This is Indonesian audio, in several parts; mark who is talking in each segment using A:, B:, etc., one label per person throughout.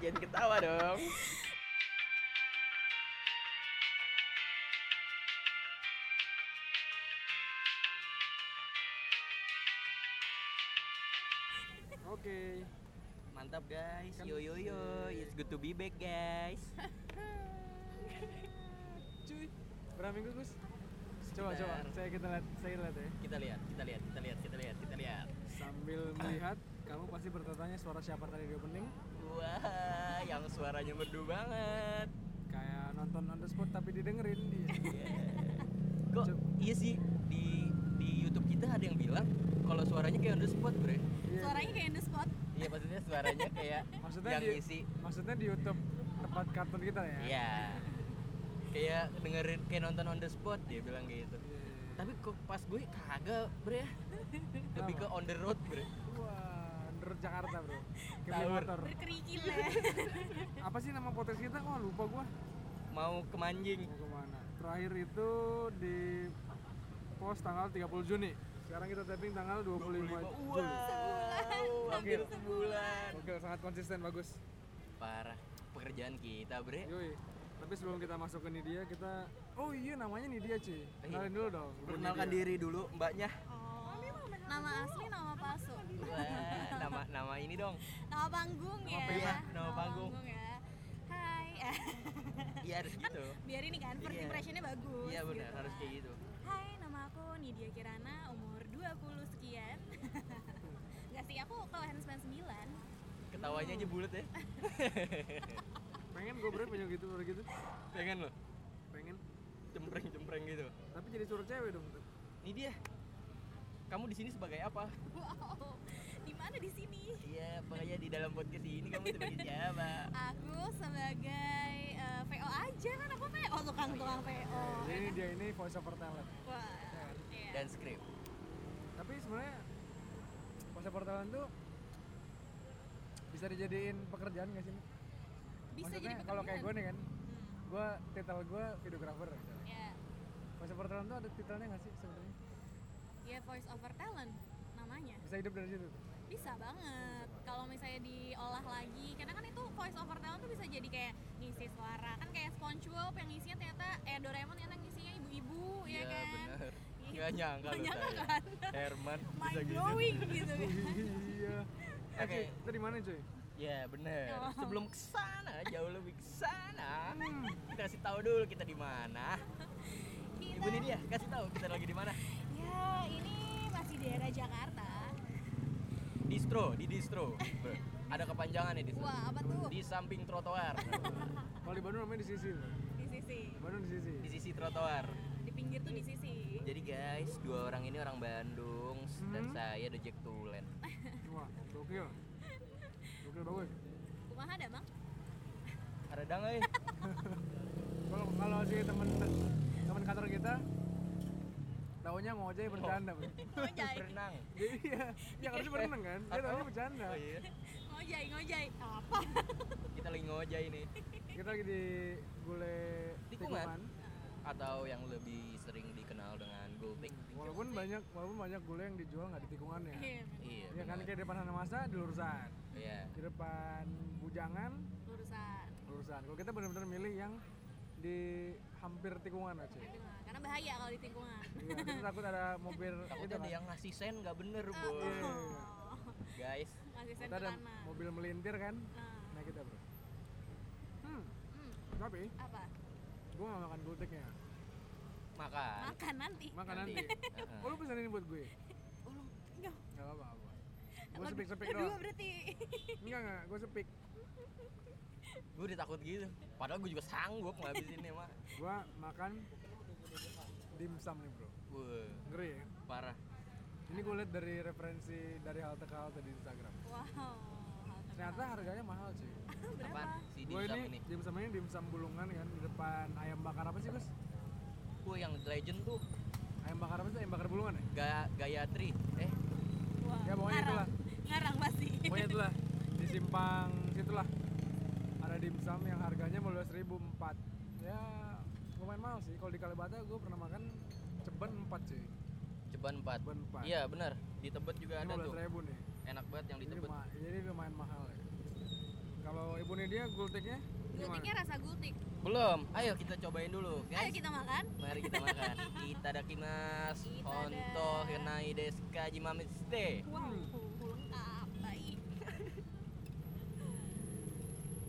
A: jangan ketawa dong.
B: Oke.
A: Mantap guys.
B: Kan-
A: Yo yo yo. It's good to be back guys.
B: Cuy. Berapa minggu Gus? Coba coba.
A: Sebentar.
B: Saya kita lihat, saya lihat ya.
A: Kita lihat, kita lihat, kita lihat, kita lihat, kita lihat.
B: Sambil melihat, kamu pasti bertanya suara siapa tadi di opening?
A: Wah, yang suaranya merdu banget.
B: Kayak nonton on the spot tapi didengerin. Iya.
A: Kok
B: Cuk.
A: iya sih di di YouTube kita ada yang bilang kalau suaranya kayak on the spot, Bre.
B: Iya.
C: Suaranya kayak in the spot.
A: Iya, maksudnya suaranya kayak
B: Maksudnya
A: yang
B: di,
A: isi.
B: maksudnya di YouTube tempat kartun kita ya.
A: Iya. Kayak dengerin kayak nonton on the spot dia bilang gitu. Tapi kok pas gue kagak, Bre. Lebih ke on the road, Bre.
B: Wah, menurut Jakarta bro. Kebeli
A: Tawur.
B: motor.
C: Berkerikil ya.
B: Apa sih nama podcast kita? Wah lupa gua.
A: Mau ke Manjing.
B: Mau kemana? Terakhir itu di pos tanggal 30 Juni. Sekarang kita taping tanggal 25, Juli.
A: Wow, hampir sebulan.
B: Oke, sangat konsisten bagus.
A: Parah pekerjaan kita, Bre.
B: Yoi. Tapi sebelum kita masuk ke Nidia, kita Oh iya namanya Nidia cuy. Kenalin dulu dong. Bu
A: Perkenalkan
B: Nidia.
A: diri dulu mbaknya.
C: Oh. Nama asli nama palsu.
A: Wah, nama nama ini dong.
C: Nama panggung
B: Nama
C: ya.
A: pema, nama panggung.
C: ya. Hai.
A: Iya harus gitu.
C: Biar ini kan first
A: Iya.
C: impressionnya bagus.
A: Iya benar,
C: gitu
A: harus
C: kan.
A: kayak gitu.
C: Hai, nama aku Nidia Kirana, umur 20 sekian. Gak sih, aku kelahiran 99.
A: Ketawanya aja bulat ya.
B: Pengen gue bro punya gitu bro gitu.
A: Pengen loh,
B: Pengen.
A: cempreng-cempreng gitu.
B: Tapi jadi suruh cewek dong. ntar.
A: Ini dia. Kamu di sini sebagai apa?
C: Wow. Di mana di sini?
A: Iya, makanya di dalam podcast ini kamu sebagai siapa?
C: Aku sebagai eh, VO aja kan aku VO tukang-tukang VO.
B: Jadi Nidia ini voice over talent.
C: Wah. iya.
A: Iya. Dan script.
B: Tapi sebenarnya voice over talent tuh bisa dijadiin pekerjaan gak sih? Mi?
C: Bisa
B: Maksudnya
C: jadi
B: kalau kayak gue
C: pekerjaan.
B: nih kan,
C: Hmm,
B: gue titel gue videographer.
C: Ya,
B: Voice over talent tuh ada titelnya gak sih sebenarnya?
C: ya voice over talent namanya.
B: Bisa hidup dari situ. tuh.
C: Bisa banget. Kalau misalnya diolah lagi, karena kan itu voice over talent tuh bisa jadi kayak ngisi suara. Kan kayak SpongeBob yang ngisinya ternyata eh Doraemon ternyata ngisinya ibu-ibu ya
A: Iya,
C: kan.
A: benar.
C: Iya.
A: Gak nyangka
C: Nggak
A: loh
C: nyangka
A: saya.
C: kan?
A: Herman
C: Mind
A: bisa gitu.
C: blowing gitu kan.
B: iya. Eh,
A: Oke.
B: cuy, kita di mana cuy?
A: Ya bener.
C: Oh.
A: Sebelum kesana, jauh lebih kesana.
C: Hmm.
A: Kita kasih tahu dulu kita di mana. Ibu
C: Kita-
A: Nidia, kasih tahu kita lagi di mana.
C: Ya, ini masih daerah Jakarta.
A: Distro, di distro. Ber- Ada kepanjangan nih distro.
C: Wah, apa tuh?
A: Di samping trotoar.
B: Kalau di Bandung namanya di sisi. loh.
C: Di sisi.
B: Bandung di sisi.
A: Di sisi trotoar.
C: Di pinggir tuh di sisi.
A: Jadi guys, dua orang ini orang Bandung dan
B: Hmm.
A: saya The Jack Tulen.
B: Wah, gokil. Gokil bagus.
C: Kumaha ada, Bang?
A: Ada dang eh? euy.
B: Kalau kalau si teman teman kantor kita taunya ngojek bercanda, Bro.
C: Ngojai.
A: Berenang.
B: Jadi iya, ya harusnya berenang kan? Dia taunya bercanda.
A: Oh iya.
C: Ngojai, ngojai. Apa?
A: Nah. Kita lagi ngojay ini
B: Kita lagi di Gule
A: Tikungan.
B: Tikungan.
A: atau yang lebih sering dikenal dengan Gultik.
B: Walaupun banyak walaupun banyak gule yang dijual nggak di tikungan ya.
C: Iya.
A: Iya.
B: Ya kan
A: benar.
B: kayak di depan Hanamasa di lurusan,
A: Iya.
B: di depan Bujangan
C: Urusan.
B: lurusan. Kalau kita benar-benar milih yang di hampir tikungan aja.
C: Karena bahaya kalau di tikungan.
B: Iya, kita takut ada mobil itu
A: Takutnya ada yang ngasih sen nggak bener,
C: Ah.
A: Bu.
C: Oh.
A: Guys,
C: Masih sen
B: kita ada
C: kanan.
B: mobil melintir kan
C: Nah.
B: nah kita bro hmm
C: Hmm,
B: tapi
C: apa?
B: gue gak makan ya. gulteknya
A: makan.
C: Makan nanti.
B: makan nanti
A: Heeh.
B: oh lu pesanin buat gue
C: Ulung. Enggak.
B: gak apa apa gue
C: Lo-
B: sepik sepik
C: lo dua
B: doang
C: berarti.
B: enggak enggak gue sepik
A: Gue udah takut gitu. Padahal gue juga sanggup ngabisinnya, Mak.
B: gue makan dimsum nih bro
A: Wah,
B: ngeri ya
A: parah.
B: ini gue liat dari referensi dari halte ke halte di Instagram
C: Wow. hal terbaik.
B: ternyata harganya mahal sih
C: Berapa?
A: Apaan? Si
B: gue
A: dimsum
B: ini
A: ini.
B: dimsum ini dimsum bulungan kan di depan ayam bakar apa sih Gus?
A: Gue yang legend tuh
B: ayam bakar apa sih ayam bakar bulungan ya?
A: Ga Gayatri. Eh,
C: Wah.
B: Ya, pokoknya
C: ngarang.
B: itulah.
C: Ngarang pasti.
B: Pokoknya itulah di simpang situlah ada dimsum yang harganya mulai ribu empat. Ya lumayan mahal sih. Kalau di Kalibata gue pernah makan ceban empat sih.
A: Ceban 4.
B: Ceban empat.
A: Iya, benar. Di Tebet juga ada
B: Lima
A: tuh.
B: ribu nih.
A: Enak banget yang di
B: Jadi,
A: Tebet.
B: ma- jadi lumayan mahal ya. Kalau ibu Walaupun dia gultiknya
C: Gultiknya rasa gultik.
A: Belum. Ayo kita cobain dulu, guys.
C: Ayo kita makan.
A: Mari kita makan. Kita dakimas.
C: Itadakimasu.
A: Honto henai desu kajimamete.
C: Wow,
B: Hmm.
C: lengkap, baik.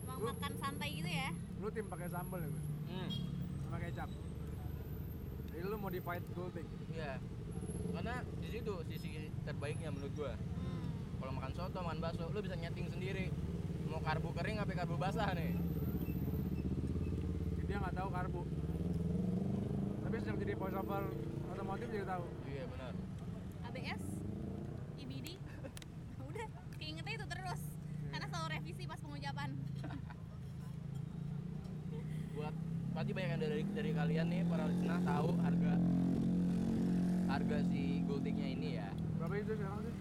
C: Emang
B: Lu-
C: makan santai gitu ya?
B: lu tim pakai sambal ya Gus?
A: Hmm.
B: sama kecap jadi lu modified gultik
A: Iya. Karena di situ sisi terbaiknya menurut gua.
C: Hmm.
A: Kalau makan soto, makan bakso, lu bisa nyeting sendiri. Mau karbu kering apa karbu basah nih?
B: dia nggak tahu karbo tapi sejak jadi voiceover otomotif jadi tahu
A: Iya benar.
C: ABS, IBD, udah keingetnya itu terus.
B: Iya.
C: Karena selalu revisi pas pengucapan.
A: Buat pasti banyak yang dari dari kalian nih para listener tahu harga harga si gultiknya ini ya.
B: berapa itu sekarang sih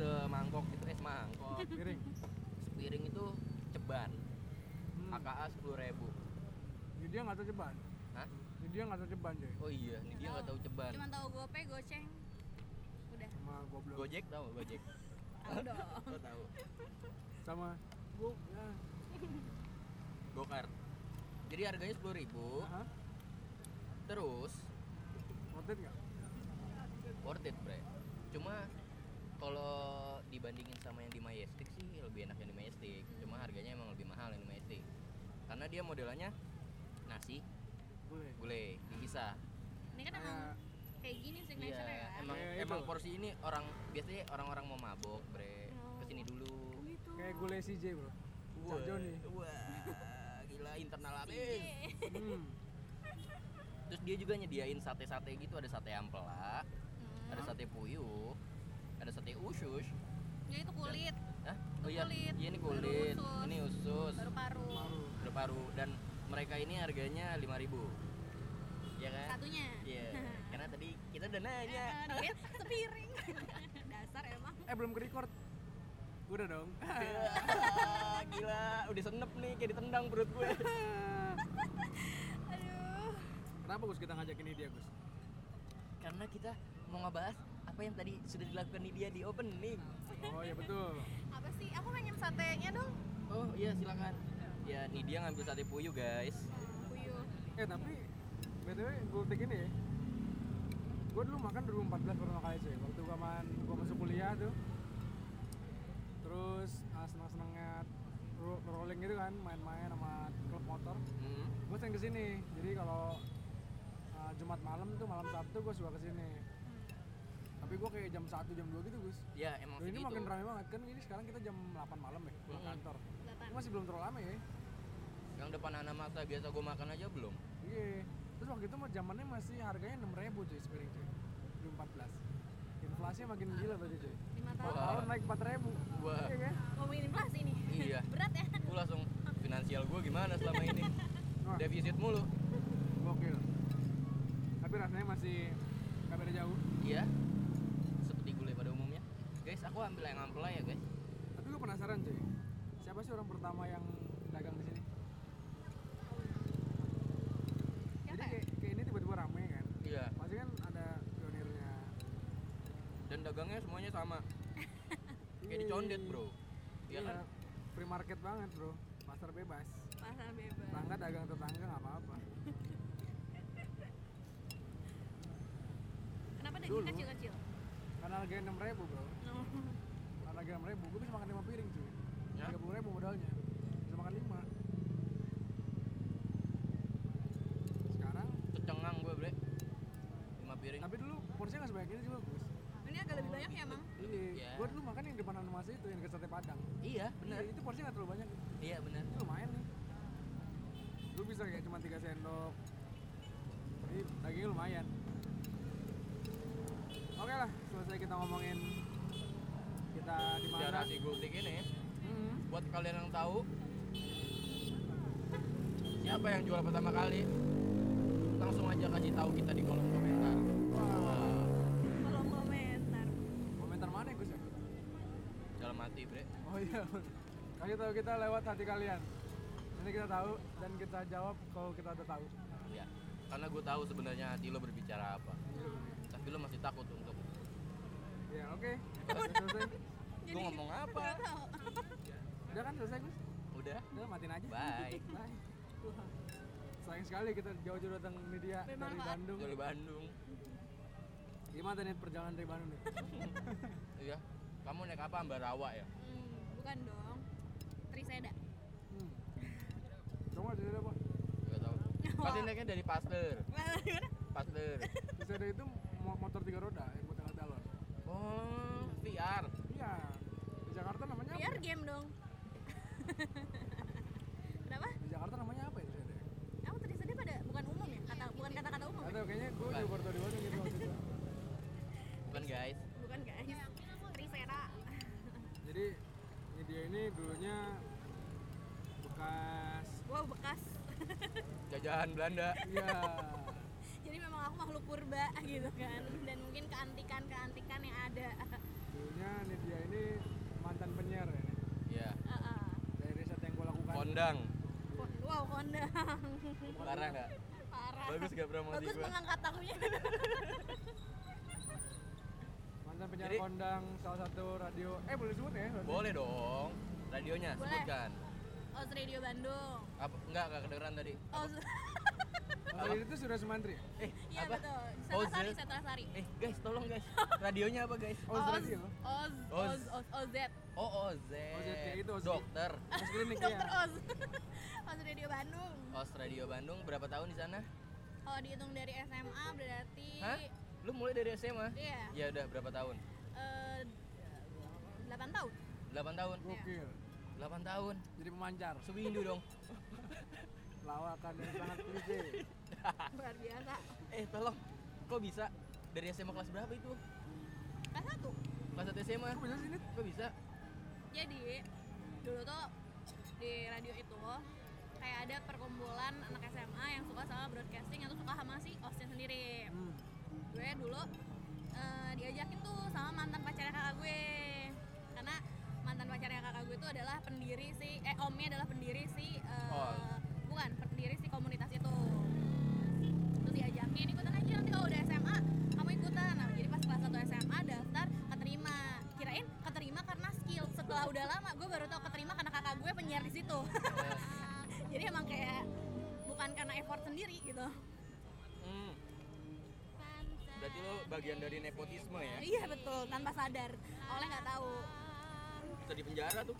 A: Semangkok itu eh semangkok.
B: piring
A: Sepiring itu ceban.
B: hmm.
A: AKA 10.000.
B: Jadi dia nggak tahu ceban
A: Hah?
B: Jadi dia nggak tahu ceban coy
A: Oh iya, ini dia nggak tahu ceban.
C: Cuman tahu GoPay, Goceng. Udah,
B: sama goblok
A: Gojek tahu Gojek.
C: tahu
B: Oh.
C: dong.
A: Lo tahu.
B: sama gua ya.
A: Gokar. Jadi harganya 10.000,
B: Hah?
A: terus
B: worth it nggak
A: worth it, Bre. Cuma kalau dibandingin sama yang di Majestic sih lebih enak yang di Majestic. Cuma harganya emang lebih mahal yang di Majestic. Karena dia modelannya nasi
B: boleh
A: gulai dipisah.
C: Ini kan emang
B: kayak
C: kayak gini signature ya kan?
A: Iya, emang
B: Kayak Iya, itu.
A: emang porsi ini orang biasanya orang-orang mau mabok, Bre.
C: Oh.
A: Kesini dulu.
C: Gitu.
B: kayak gulai CJ bro
A: Wah,
B: Cak Joni.
A: wah, gila internal habis.
C: Iya.
B: hmm.
A: Terus dia juga nyediain sate-sate gitu, ada sate ampela,
C: Hmm.
A: ada sate puyuh, ada sate usus.
C: Ya itu kulit,
A: Hah?
C: Itu kulit.
A: iya ini
C: Baru
A: kulit,
C: usus.
A: ini usus,
C: baru paru.
B: malu
A: berparu dan mereka ini harganya 5000. Ya kan?
C: Satunya.
A: Iya. Karena tadi kita udah nanya.
C: Eh, duit sepiring. Dasar emang.
B: eh belum ke record udah dong
A: Wah, gila, udah senep nih kayak ditendang perut gue.
C: Aduh.
B: kenapa Gus kita ngajakin ini dia Gus
A: Karena kita mau ngebahas apa yang tadi sudah dilakukan dia di opening.
B: oh ya betul
C: Apa sih? Aku pengen satenya dong.
A: Oh iya silakan. Ya nih dia ngambil sate puyuh guys.
C: Puyuh.
B: Eh tapi btw gultik ini ya. Gue dulu makan 2014 pertama kali sih. Waktu gue main, gue masuk kuliah tuh. Terus ah, senang-senangnya ro- rolling gitu kan, main-main sama klub motor.
A: Hmm.
B: Gue sering kesini. Jadi kalau ah, Jumat malam tuh malam Sabtu gue suka kesini. Tapi gue kayak jam 1 jam 2 gitu Gus.
A: Ya emang
B: Loh, ini
A: segitu.
B: makin ramai banget kan ini sekarang kita jam 8 malam ya pulang
A: Mm-mm.
B: kantor.
C: Delapan.
B: Ini masih belum terlalu lama ya.
A: Yang depan anak masa biasa gue makan aja belum.
B: Iya. Terus waktu itu mah zamannya masih harganya 6.000 cuy sepiring cuy. 2014. Inflasinya makin gila berarti cuy.
C: Lima
A: Wah.
C: tahun.
B: Tahun naik 4.000.
A: Wah.
B: Iya kan?
C: Ngomongin inflasi nih.
A: Iya.
C: Berat ya.
A: Gue langsung finansial gue gimana selama ini?
B: Wah,
A: Defisit mulu.
B: gokil. Tapi rasanya masih nggak beda jauh.
A: Iya. Seperti gulai pada umumnya. Guys, aku ambil yang ampela ya guys.
B: Tapi gue penasaran cuy. Siapa sih orang pertama yang dagang di sini? Jadi
C: Siapa ya?
B: kayak, kayak ini tiba-tiba rame kan.
A: Iya.
B: Pasti kan ada pionirnya.
A: Dan dagangnya semuanya sama. Kayak
B: Iya.
A: di condet bro. Iya
B: Iya.
A: kan?
B: Free market banget bro. Pasar bebas.
C: Pasar bebas.
B: Tetangga dagang tetangga nggak apa-apa.
C: Kenapa
B: Dulu.
C: daging kecil-kecil?
B: Karena harganya 6.000 bro.
C: No.
B: Karena gram ribu, gue bisa makan lima piring cuy.
A: Ya.
B: Tiga puluh ribu modalnya, bisa makan lima. Sekarang,
A: Kecengang gue bre. Lima piring.
B: tapi dulu porsinya nggak sebanyak ini juga Gus.
C: Ini agak lebih
A: Oh,
C: banyak ya,
A: gitu.
C: Mang.
B: Iya.
A: Iya.
B: Gue dulu makan yang depan animasi itu yang ke sate padang.
A: Iya benar.
B: Iya, Itu porsinya nggak terlalu banyak, itu
A: Iya benar.
B: lumayan nih. Lu bisa kayak cuma tiga sendok. Jadi dagingnya lumayan. Oke lah, selesai kita ngomongin kita di mana.
A: Sejarah si gultik ini.
B: Hmm.
A: buat kalian yang tahu siapa yang jual pertama kali langsung aja kasih tahu kita di kolom komentar Wah,
C: Belum komentar.
B: Komentar mana Gus ya?
A: dalam hati bre
B: Oh iya. Kasih tahu kita lewat hati kalian. Nanti kita tahu dan kita jawab kalau kita udah tahu.
A: ya karena gue tahu sebenarnya hati lo berbicara apa tapi lo masih takut untuk
B: Ya oke. Selesai.
A: gue ngomong apa
C: Tahu.
B: Udah kan selesai Gus?
A: udah udah
B: udah matiin aja
A: bye
B: Bye. Wah, sayang sekali kita jauh-jauh datang media dari
C: Bermanfaat.
B: Bandung
A: dari Bandung
B: gimana nih perjalanan dari Bandung nih
A: iya kamu naik apa Ambarawa ya
C: Hmm, bukan dong. Triseda.
B: hmm. coba di sana apa
A: nggak tahu pasti naiknya dari Pasteur Pasteur
B: di sana itu mo- motor tiga roda yang buat tengah galon
A: oh VR
B: iya di Jakarta namanya apa
C: Biar game dong. Kenapa?
B: di Jakarta namanya apa ya di sana
C: Aku Triseda pada bukan umum ya? Kata bukan kata-kata umum.
B: Nggak
C: ya?
B: tahu, kayaknya gue juga baru tau di Bandung gitu waktu itu.
A: bukan guys
C: Bukan guys. Ya, Triseda.
B: jadi media ini dulunya bekas
C: Wow, bekas.
A: jajahan Belanda
B: iya
C: Jadi memang aku makhluk purba gitu kan. Dan mungkin keantikan-keantikan yang ada.
B: dulunya media ini mantan penyiar ya nih.
A: ya
C: Heeh.
B: dari riset yang gue lakukan
A: kondang
C: Ko- ah. Wow, kondang.
A: parah nggak
C: Parah.
A: bagus nggak promosi
C: Bagus
A: gue
C: mengangkat tangannya.
B: mantan penyiar
A: Jadi-
B: kondang salah satu radio eh boleh disebut ya berarti?
A: boleh dong radionya
C: Boleh.
A: sebutkan
C: Oz Radio Bandung.
A: apa enggak enggak kedengeran tadi
C: Oz.
B: radio itu sudah semantri ya?
A: eh
C: Iya
A: apa
C: betul.
A: Oz
C: Setrasari,
A: ya?
C: Setrasari.
A: eh guys tolong guys radionya apa guys
B: oh radio
C: Oz, Oz, Oz, Oz,
A: oh OZ
B: OZ, kayak itu, OZ.
A: dokter
B: Mas klinik ya
C: Dokter Oz, Oz Radio Bandung.
A: Os Radio Bandung berapa tahun di sana
C: Kalau dihitung dari SMA berarti,
A: Hah? lu mulai dari SMA
C: iya,
A: ya udah berapa tahun
C: eh, 8 tahun.
A: 8 tahun
B: gokil
A: 8 tahun
B: jadi pemancar
A: Sewindu dong
B: lawakan yang sangat klise
C: Luar biasa.
A: eh tolong kok bisa dari SMA kelas berapa itu
C: Kelas satu.
A: kelas 1 SMA
B: kok bisa sih ini
A: kok bisa
C: Jadi dulu tuh di radio itu kayak ada perkumpulan anak SMA yang suka sama broadcasting atau suka sama si Oznya sendiri.
B: hmm.
C: gue dulu eh, diajakin tuh sama mantan pacarnya kakak gue karena mantan pacarnya kakak gue itu adalah pendiri si eh omnya adalah pendiri si eh,
A: Oh.
C: bukan pendiri si komunitas itu terus diajakin ikutan aja nanti kalau udah SMA kamu ikutan nah jadi pas kelas 1 SMA daftar keterima kirain keterima karena skill setelah udah lama gue baru tahu keterima karena kakak gue penyiar di situ
A: Eh,
C: jadi emang kayak bukan karena effort sendiri gitu
A: hmm, berarti lo bagian dari nepotisme ya
C: iya betul tanpa sadar oleh nggak tahu
A: bisa di penjara tuh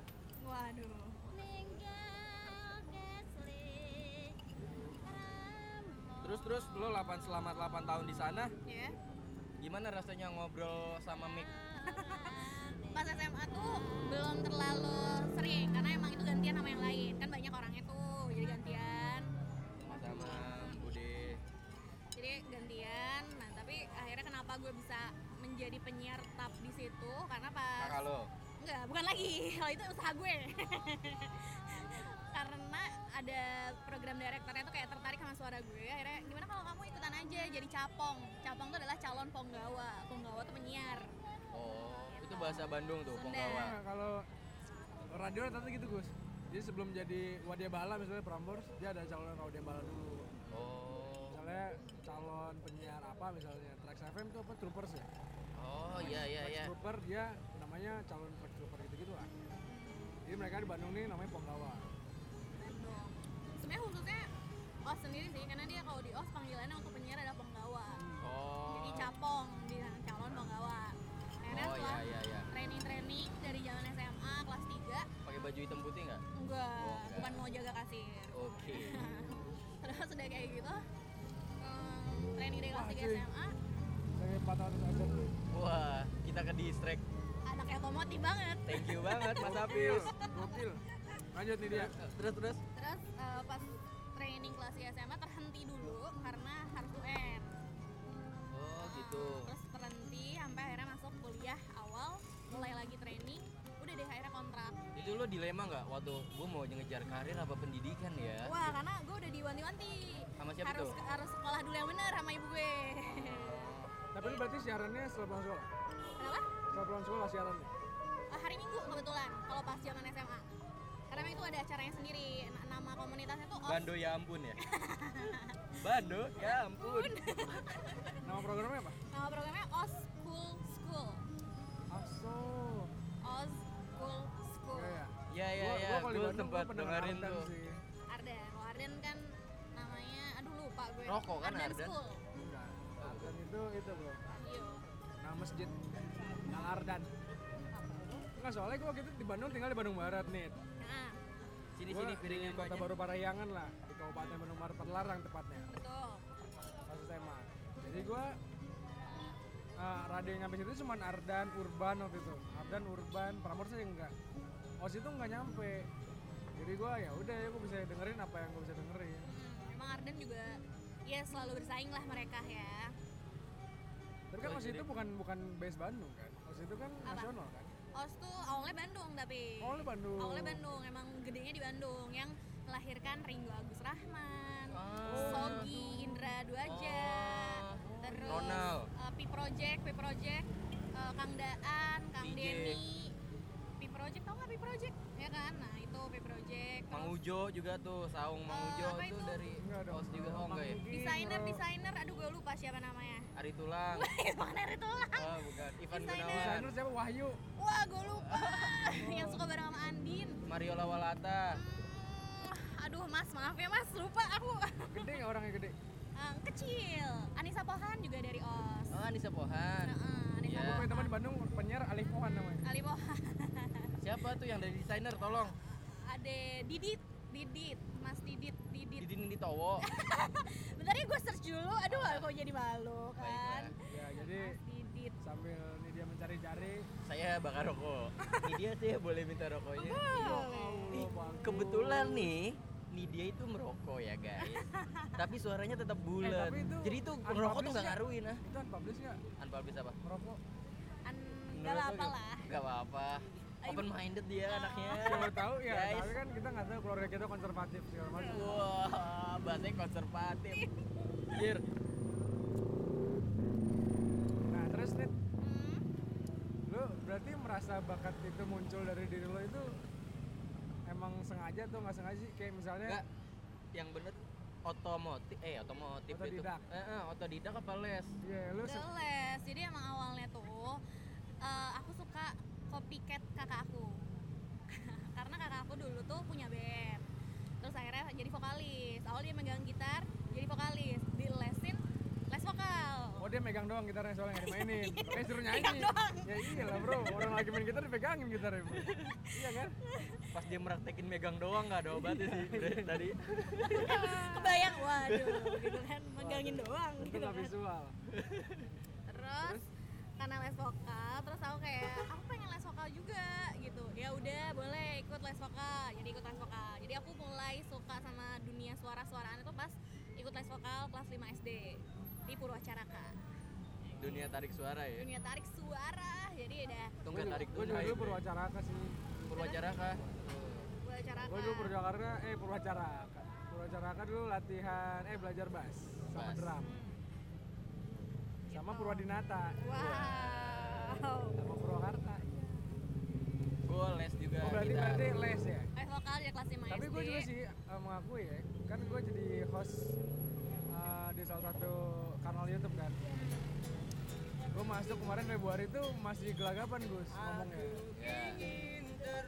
C: Waduh.
A: terus terus lo 8 selamat 8 tahun di sana
C: Ya.
A: gimana rasanya ngobrol sama Mick
C: Pas SMA tuh belum terlalu sering karena emang itu gantian sama yang lain. Kan banyak orangnya tuh, jadi gantian.
A: sama Bude
C: Jadi gantian. Nah, tapi akhirnya kenapa gue bisa menjadi penyiar tetap di situ? Karena pas
A: kakak lo
C: Enggak, bukan lagi. Kalau itu usaha gue. Karena ada program direkturnya tuh kayak tertarik sama suara gue. Akhirnya gimana kalau kamu ikutan aja jadi capong. Capong tuh adalah calon penggawa. Penggawa tuh penyiar.
A: oh itu bahasa Bandung tuh
C: Sunda.
A: Ponggawa
B: Nah, kalau radio ternyata gitu Gus jadi sebelum jadi wadia bala misalnya Prambors dia ada calon wadia bala dulu
A: oh
B: misalnya calon penyiar apa misalnya Trax FM itu apa Troopers ya
A: oh iya iya
B: Trax
A: iya
B: Trooper dia namanya calon Trax Trooper gitu-gitu lah jadi mereka di Bandung nih namanya Ponggawa
C: Gitu. Sebenarnya khususnya OS sendiri sih, karena dia kalau di OS panggilannya untuk penyiar adalah penggawa.
A: oh
C: Jadi capong, di calon penggawa. Akhirnya
A: oh iya
C: setelah
A: iya iya
C: training-training dari zaman SMA kelas 3,
A: pakai baju hitam putih nggak
C: enggak,
A: enggak.
C: bukan mau jaga kasir.
A: oke
C: terus udah kayak gitu em, training dari kelas
B: Wah, cuy.
C: 3 SMA
B: saya 400 abad tuh
A: wah kita ke distract
C: anaknya otomotif banget
A: thank you banget Mas
B: Gokil,
A: Apis
B: gokil lanjut nih dia
A: terus terus, terus.
C: terus eh, pas training kelas 3 SMA terhenti dulu karena harus UN
A: oh gitu
C: Nah, terus berhenti sampai akhirnya masuk kuliah awal mulai lagi training udah deh akhirnya kontrak
A: itu lo dilema nggak waktu gue mau ngejar karir apa pendidikan ya
C: wah karena gue udah diwanti-wanti
A: sama siapa
C: harus
A: tuh
C: harus sekolah dulu yang bener sama ibu gue
B: tapi lu berarti siarannya setelah pulang sekolah?
A: Oh.
C: kenapa?
B: setelah pulang sekolah siarannya?
C: Eh, hari Minggu kebetulan kalau pas zaman SMA karena memang itu ada acaranya sendiri N- nama komunitasnya tuh OS
A: Bando ya ampun ya Bando ya ampun
B: nama programnya apa?
C: Nama programnya Oz Cool School.
B: Aso
C: Oz Cool School.
B: iya
A: ya ya
B: ya Gua-
A: ya
B: Iya, gua kalau di
A: gue
B: Bandung
A: sempat
B: gua pernah
A: iya, dengerin
B: Ardan
A: tuh.
B: sih.
C: Arden kalau Arden kan namanya aduh lupa gue
A: Rokok kan
C: Arden,
A: Arden?
C: School
B: Enggak. Ardan Nah, itu itu bro.
C: Iya.
B: Nah masjid Al Ardan. Enggak soalnya gue waktu itu di Bandung tinggal di Bandung Barat nih.
C: nah
A: Sini
B: Gua
A: sini
C: Iya,
A: piringnya
B: di Kota
A: banyak.
B: Baru Parayangan lah di Kabupaten Bandung Barat Padalarang tepatnya.
C: betul
B: pas SMA. Jadi gue uh, radio yang nyampe situ cuma Ardan Urban waktu itu. Ardan Urban Prambors sih enggak. Os itu enggak nyampe. Jadi gue ya udah ya gue bisa dengerin apa yang gue bisa dengerin.
C: hmm, emang Arden juga ya selalu bersaing lah mereka ya
B: Tapi kan
A: Oh,
B: Os
A: jadi-
B: itu bukan bukan base Bandung kan. Os itu kan
C: Apa?
B: nasional kan.
C: Os tuh awalnya Bandung tapi
B: Oh lu Bandung.
C: awalnya Bandung emang gedenya di Bandung yang melahirkan Ringo Agus Rahman
A: Ah.
C: Sogi Indra Duaja
A: Oh.
C: terus
A: Ronald.
C: eh, P Project P Project eh, Kang Daan Kang
A: DJ.
C: Denny P Project tau nggak P Project ya kan nah itu P Project
A: Mang
C: terus
A: Ujo juga tuh, saung Mang
C: Eh,
A: Ujo
C: apa
A: tuh
C: itu?
A: dari
B: Enggak dong.
A: Os juga oh enggak ya?
B: Mang Ugi,
C: desainer
B: Bro.
C: desainer aduh gue lupa siapa namanya
A: Ari Tulang.
C: desainer itu lah
A: Oh, bukan. Ivan
C: Desainer.
A: Gunawan.
B: Ah. Desainer siapa Wahyu.
C: wah gue lupa yang suka bareng sama Andin
A: Mario
B: Ah.
A: Lawalata.
C: Hmm, aduh mas maaf ya mas lupa aku
B: Gede nggak orangnya gede?
C: Eh, kecil Anissa Pohan juga dari OS
A: Oh, Anissa Pohan.
B: Nah.
C: Heeh, Anissa
A: Iya.
B: Gue punya teman
C: Pohan
B: di Bandung penyiar Alif Mohan namanya.
C: Ali Pohan
A: Siapa tuh yang dari desainer tolong?
C: ada Didit Didit Mas Didit Didit
A: Didin Ditowo.
C: bentar ya gue search dulu aduh kok jadi malu kan
A: Baiklah.
B: Ya jadi
C: Mas Didit
B: sambil ini dia mencari-cari.
A: Saya bakar rokok. Ini dia saya boleh minta rokoknya. Iya, oh, Ih,
B: Allah, bagus.
A: Kebetulan nih, nih dia itu merokok ya guys. Tapi suaranya tetap bulat.
B: tapi itu
A: Jadi Eh, itu
B: unpublished
A: merokok tuh nggak
B: ya?
A: ngaruhin ah.
B: Itu unpublished nggak?
A: Unpublished apa?
B: Merokok.
C: An
A: Menurut
C: gak lah
A: lo
C: apalah
A: Gak apa-apa. Open minded dia anaknya.
B: Siapa tahu ya,
A: Guys.
B: tapi kan kita nggak tahu keluarga kita konservatif segala macam.
A: Wah, bahasanya konservatif. Jir,
B: Nah terus nih,
C: Hmm,
B: lu berarti merasa bakat itu muncul dari diri lo itu emang sengaja tuh nggak sengaja sih? Kayak misalnya
A: enggak yang bener otomotif eh otomotif itu.
B: Otodidak.
A: Eh, eh, otodidak apa les?
B: Iya, lu se-
C: gak les jadi emang awalnya tuh eh, aku suka copycat kakak aku karena kakak aku dulu tuh punya band terus akhirnya jadi vokalis awalnya dia megang gitar jadi vokalis dilesin les vokal
B: Oh dia megang doang gitarnya soalnya nggak dimainin Makanya suruh nyanyi
C: Megang doang.
B: Ya iyalah bro, orang lagi main gitar dipegangin gitarnya bro. Iya kan?
A: Pas dia meraktekin megang doang nggak ada obatnya sih
B: Iya.
A: Bre, tadi.
C: kebayang waduh gitu kan megangin doang
B: Itu
C: gitu
B: nggak
C: kan
B: visual
C: terus karena les vokal terus aku kayak aku pengen les vokal juga gitu ya udah boleh ikut les vokal jadi ikut les vokal jadi aku mulai suka sama dunia suara-suaraan itu pas ikut les vokal kelas 5 SD di Purwacaraka
A: Dunia tarik suara ya.
C: dunia tarik suara jadi ada
A: Tunggu tarik
B: Gue juga
A: tunai,
B: dulu
A: Bre.
B: Purwacaraka sih
A: Purwacaraka.
C: Purwacaraka Hmm.
B: Gue dulu Purwacaraka, eh Purwacaraka Purwacaraka dulu latihan, eh belajar bass Sama
A: Bass.
B: drum
C: Hmm.
B: Sama
C: Gitu.
B: Purwadinata
C: wow
B: sama Purwakarta.
A: Gue les juga.
B: Oh, berarti
A: gitar.
B: berarti les ya.
C: les iya. vokal dari kelas 5
B: Tapi
C: SD
B: gue juga sih eh, mengakui ya, kan gue jadi host eh, di salah satu kanal YouTube kan. Gue masuk kemarin Februari itu masih gelagapan Gus ngomongnya.
A: Ya.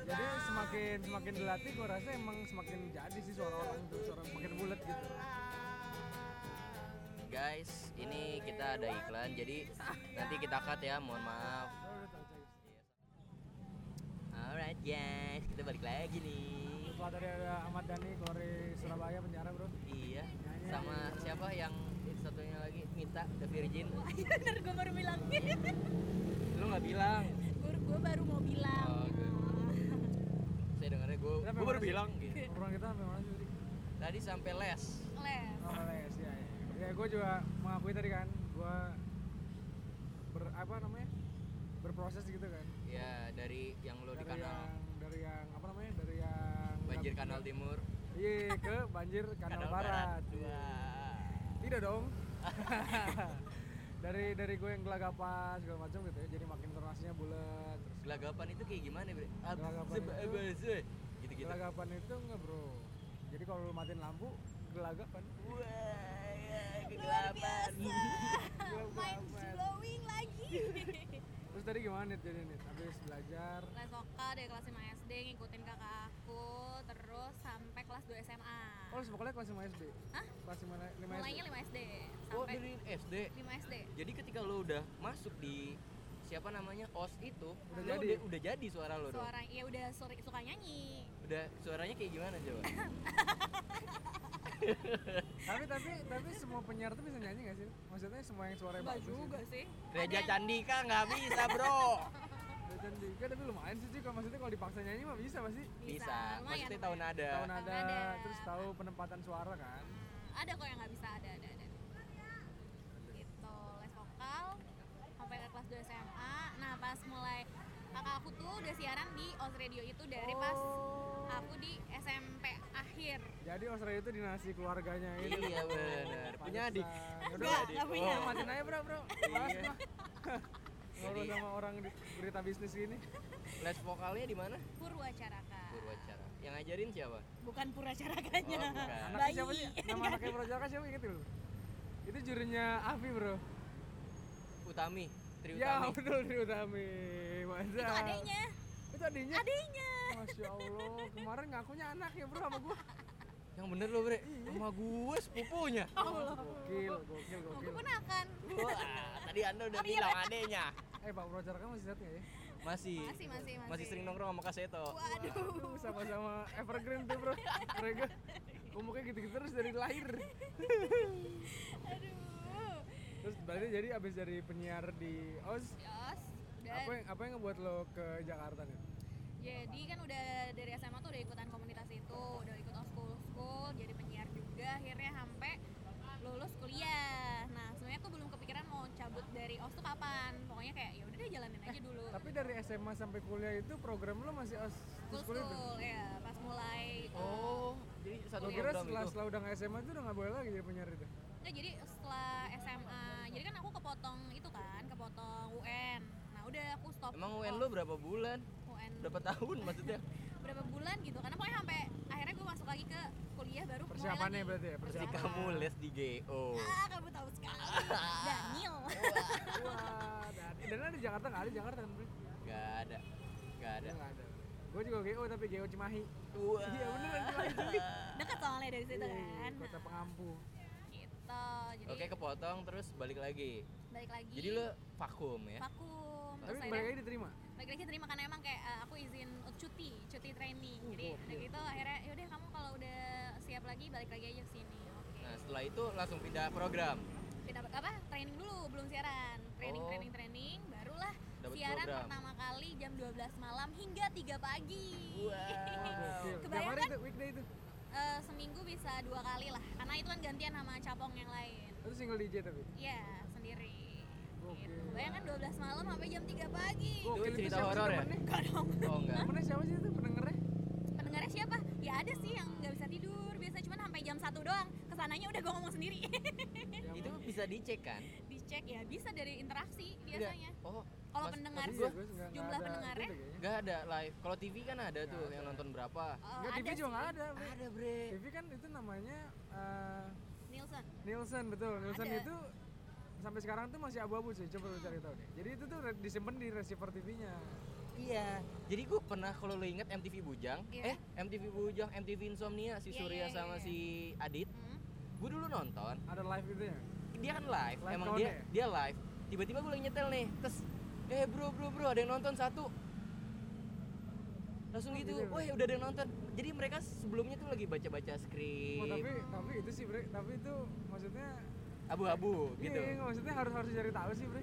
B: Jadi semakin semakin dilatih gue rasa emang semakin jadi sih suara orang itu suara makin bulat gitu.
A: Guys, ini kita ada iklan. Jadi nanti kita cut ya, mohon maaf. Alright guys, kita balik lagi nih.
B: Setelah tadi ada Ahmad Dhani keluar dari Surabaya penjara bro.
A: Iya, sama siapa yang satunya lagi Mita The Virgin.
C: bener gue baru bilang
A: Lu nggak bilang.
C: gue baru mau bilang
A: Oh, oke. Saya dengarnya gue.
B: Kenapa
A: Gue baru
B: Mas?
A: bilang. Gitu.
B: Orang kita sampai mana sih tadi?
A: Tadi sampai les.
C: les
B: Oh, les ya. Ya, gue juga mengakui tadi kan, gue ber apa namanya berproses gitu kan.
A: Ya dari yang lo di
B: dari
A: kanal
B: yang dari yang apa namanya dari yang
A: banjir kan? kanal timur. Iya.
B: Iya ke banjir kanal, barat.
A: Wah.
B: Tidak dong. dari dari gue yang gelagapan segala macam gitu ya, jadi makin intonasinya bulat.
A: Gitu.
B: Terus
A: Gelagapan itu kayak gimana bre?
B: Gelagapan itu-
A: Gitu gitu.
B: Gelagapan itu enggak bro. Jadi kalau lu matiin lampu kan? gelagapan.
A: Gelagapan. Ah.
C: mind
B: gelagapan.
C: blowing lagi
B: Terus tadi gimana nih jadi nih? Habis belajar
C: les vokal dari kelas 5 SD ngikutin kakak aku terus
B: Oh, sekolahnya kelas 5 SD.
C: Hah?
B: Kelas 5 5 SD.
C: mulainya 5 SD
A: oh
C: sampai
A: dari SD
C: 5 SD
A: jadi ketika lo udah masuk di siapa namanya os itu
B: Udah
A: lo
B: jadi.
A: udah, udah jadi suara lo dong
C: suara ya udah sore- suka nyanyi
A: udah suaranya kayak gimana coba
B: Tapi tapi tapi semua penyiar tuh bisa nyanyi gak sih? Maksudnya semua yang suaranya
C: enggak
B: bagus.
C: juga sih
A: Reja Candika nggak bisa bro
B: Ya. Dan juga tapi lumayan sih juga maksudnya kalau dipaksa nyanyi mah bisa pasti.
A: bisa
C: lumayan
A: maksudnya tahu nada
B: Tahu
C: Tahu
B: nada,
C: nada.
B: terus tahu penempatan suara kan.
C: ada kok yang nggak bisa ada ada ada gitu les vokal sampai ke kelas 2 SMA nah pas mulai kakak aku tuh udah siaran di Oz Radio itu dari pas
B: Oh.
C: aku di SMP akhir
B: Jadi Australia itu dinasti keluarganya itu.
A: iya benar punya adik
B: Pantesan.
A: Punya
B: Udah,
A: adik.
C: nggak punya.
B: oh, matiin aja bro bro. Mas,
A: Iya.
B: mah. Ngobrol
A: Jadi-
B: sama orang di berita bisnis gini.
A: les vokalnya di mana
C: Purwacaraka
A: Purwacara yang ngajarin siapa
C: bukan
A: oh
C: Purwacarakanya
A: bukan
B: Anaknya
C: Bayi.
B: siapa sih? Nama anaknya Bro Jaka siapa inget lu? Itu jurinya Avi bro.
A: Utami Tri
B: Ya
A: Utami
B: betul Tri Utami. Mantap.
C: itu adanya
B: Itu adiknya.
C: adanya
B: Masya Allah. Kemarin ngakunya anak ya bro sama gua.
A: yang bener lo bre sama gue sepupunya
C: Oh, Allah
B: Gokil, gokil,
C: aku
B: gokil.
C: pun akan
A: Wah, tadi anda udah bilang adeknya
B: Eh Pak Bro Jaka masih sehat nggak ya?
A: masih
C: Masih, masih, masih.
A: sering nongkrong sama Kak Seto
C: waduh
B: Aduh, sama-sama evergreen tuh bro. Mereka umurnya gitu-gitu terus dari lahir.
C: aduh
B: Terus berarti jadi abis dari penyiar di OS,
C: Yos, udah
B: apa yang apa yang ngebuat lo ke Jakarta nih?
C: Jadi kan udah dari SMA tuh udah ikutan komunitas itu, udah ikut oskul school, jadi penyiar juga akhirnya sampai lulus kuliah. Nah, sebenarnya tuh belum kepikiran mau cabut dari OS tuh kapan. Pokoknya kayak ya udah deh jalanin aja dulu.
B: Eh, Tapi dari SMA sampai kuliah itu program lo masih OS
C: School
B: school itu?
C: school ya, pas mulai
A: oh jadi satu gitu.
B: Lo kira
A: program
B: setelah,
A: itu
B: setelah udah nggak SMA itu udah nggak boleh lagi jadi penyiar itu?
C: Nggak, Nah, jadi setelah SMA, jadi kan aku kepotong itu kan, kepotong UN. Nah, udah aku stop.
A: emang UN lo berapa bulan
C: UN
A: berapa tahun maksudnya
C: berapa bulan gitu. Karena pokoknya sampai akhirnya gue masuk lagi ke kuliah baru mulai
B: Persiapannya
C: lagi.
B: berarti ya,
A: Berarti
B: persiapan.
A: kamu les di GO
C: Ah, kamu tahu sekali. Daniel.
B: Wah, dan, dan ada di Jakarta nggak ada di Jakarta kan? Bro?
A: Gak ada Gak ada
B: Nggak ada. Gue juga GO tapi GO Cimahi.
A: Wah.
B: Iya beneran Cimahi cuy.
C: Dekat soalnya dari situ
B: Yeay,
C: kan.
B: Iya, Kota pengampu.
C: Nah, gitu. Jadi
A: Oke kepotong terus balik lagi
C: balik lagi.
A: Jadi lo vakum ya
C: vakum.
B: Tapi
C: Terus akhirnya
B: balik lagi diterima.
C: balik lagi terima karena emang kayak eh, aku izin cuti, cuti training.
B: Uh,
C: Jadi
B: gokil.
C: udah gitu akhirnya yaudah kamu kalau udah siap lagi balik lagi aja ke sini. Oke.
A: Nah setelah itu langsung pindah program
C: Pindah apa? Training dulu, belum siaran. Training,
A: Oh.
C: training, training, barulah
A: Dapat
C: siaran
A: program.
C: pertama kali jam 12 malam hingga 3 pagi.
B: Gokil. Tiap
C: Kebayang
B: hari
C: kan?
B: itu weekday itu.
C: Eh, seminggu bisa dua kali lah, karena itu kan gantian sama capong yang lain.
B: Itu single DJ tapi.
C: Iya, sendiri.
B: Oke.
C: Gitu. Bayangkan 12 malam sampai jam 3 pagi.
A: Itu cerita
B: siapa sih
A: horor ya?
B: temennya?
C: Enggak dong.
A: Oh enggak
B: Temennya siapa sih itu pendengarnya?
C: Pendengarnya siapa? Ya ada sih yang nggak bisa tidur. Biasa cuman sampai jam 1 doang. Kesananya udah gue ngomong sendiri.
A: Itu bisa dicek kan
C: Dicek ya bisa dari interaksi
B: Iya.
C: biasanya.
A: Oh
C: Kalau
A: Mas-
C: pendengar
A: maksud
C: sih,
A: gua,
C: Eh, jumlah pendengarnya?
A: Enggak ada live Kalau TV kan ada tuh yang nonton berapa
C: eh,
B: Enggak, TV
C: ada
B: juga nggak
C: sih.
B: ada. Bro.
A: Ada bre
B: TV kan itu namanya eh,
C: Nielsen.
B: Nielsen betul. Nielsen
C: Ada.
B: itu sampai sekarang tuh masih abu-abu sih. Coba lu cari tahu deh. Jadi itu tuh re- disimpan di receiver TV-nya.
A: Iya Jadi gue pernah kalau lo inget MTV Bujang Eh
C: Iya.
A: MTV Bujang, MTV Insomnia Si
C: Iya,
A: Surya
C: iya, iya,
A: sama
C: iya.
A: si Adit
C: Hmm.
A: Gue dulu nonton
B: Ada live itu ya.
A: dia kan live,
B: Live
A: emang
B: count
A: dia
B: ya?
A: dia live tiba-tiba gue lagi nyetel nih terus eh bro bro bro ada yang nonton satu langsung
B: Oh,
A: gitu
B: gitu ya, Bro?
A: wah udah ada yang nonton jadi mereka sebelumnya tuh lagi baca-baca
B: Oh, tapi
A: skrip
B: tapi itu sih, Bre. Tapi itu maksudnya
A: abu-abu gitu
B: Iya, maksudnya harus harus cari tahu sih, Bre.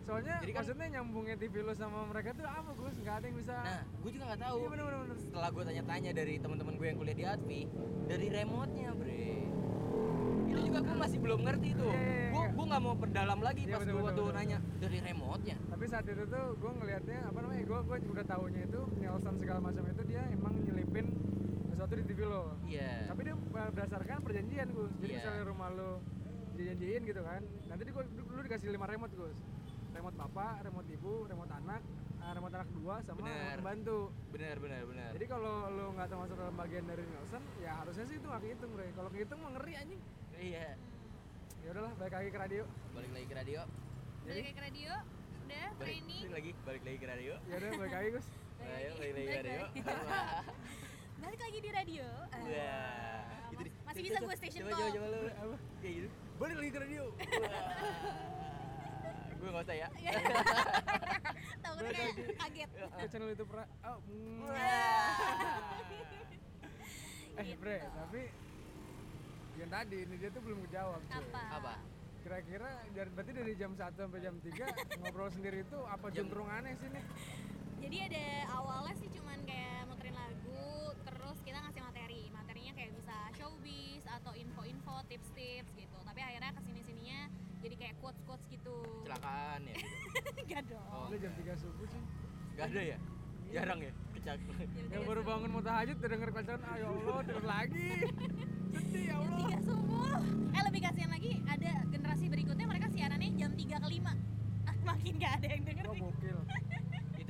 B: Soalnya
A: Jadi kan-
B: maksudnya nyambungnya TV lu sama mereka tuh apa, Gus? Enggak ada yang bisa.
A: nah gue juga nggak tahu
B: Iya, bener bener bener.
A: setelah gue tanya-tanya dari teman-teman gue yang kuliah di Advi dari remote-nya bre itu juga gue masih belum ngerti tuh
B: Iya, iya, iya.
A: gue gue nggak mau perdalam lagi
B: Iya,
A: pas
B: betul,
A: gue
B: betul,
A: tuh
B: betul.
A: nanya dari remote-nya
B: tapi saat itu tuh gue ngelihatnya apa namanya gue gue udah tahunya itu Nielsen segala macam itu dia emang nyelipin sesuatu di TV lo
A: iya
B: tapi dia berdasarkan perjanjian Gus jadi
A: Iya.
B: misalnya rumah lo dijanjiin gitu kan nanti di, lu dikasih lima remote Gus remote bapak remote ibu remote anak eh, remote anak dua sama
A: Bener.
B: remote pembantu
A: benar benar benar
B: jadi kalau lo nggak termasuk dalam bagian dari Nielsen ya harusnya sih itu nggak kehitung Bre kalau kehitung mah ngeri anjing
A: iya
B: ya udahlah balik lagi ke radio
A: balik lagi ke radio
C: Balik lagi ke radio, udah
A: balik
C: training.
A: lagi balik lagi ke radio
B: ya udah balik lagi Gus
A: Ayo, lagi lagi
C: Balik
A: radio. Iya.
C: lagi. Balik lagi di radio. Ah.
A: Wah, itu di-
C: Masih bisa gue station
A: coba,
C: call.
A: Coba coba lu apa kayak gitu. Balik lagi ke radio. Wah. gue nggak usah ya.
C: Iya. Tahu gue kayak kaget.
B: ke channel itu pra oh, mm. eh
C: Gitu.
B: bre tapi yang tadi ini dia tuh belum kejawab cuy.
C: Apa?
A: Apa?
B: kira-kira dari berarti dari jam 1 sampai jam 3 ngobrol sendiri itu apa
A: Jam-
B: juntrung aneh sih nih
C: Jadi ada awalnya sih cuman kayak muterin lagu, terus kita ngasih materi. Materinya kayak bisa showbiz atau info-info, tips-tips gitu. Tapi akhirnya kesini sininya jadi kayak quotes-quotes gitu.
A: Kecelakaan ya.
C: Enggak dong.
A: Oh.
B: Lu jam 3 subuh sih
A: Gak ada ya. Jarang ya kecelakaan.
C: Jam
B: yang
C: tiga
B: baru
C: subuh.
B: bangun mau tahajud udah denger pacaran ayo Allah denger lagi sedih ya
C: Jam
B: Allah
C: 3 subuh. Eh lebih kasihan lagi ada generasi berikutnya mereka siarannya jam 3 ke 5. Ah, makin gak ada yang denger.
B: Gua
C: nih.
B: gokil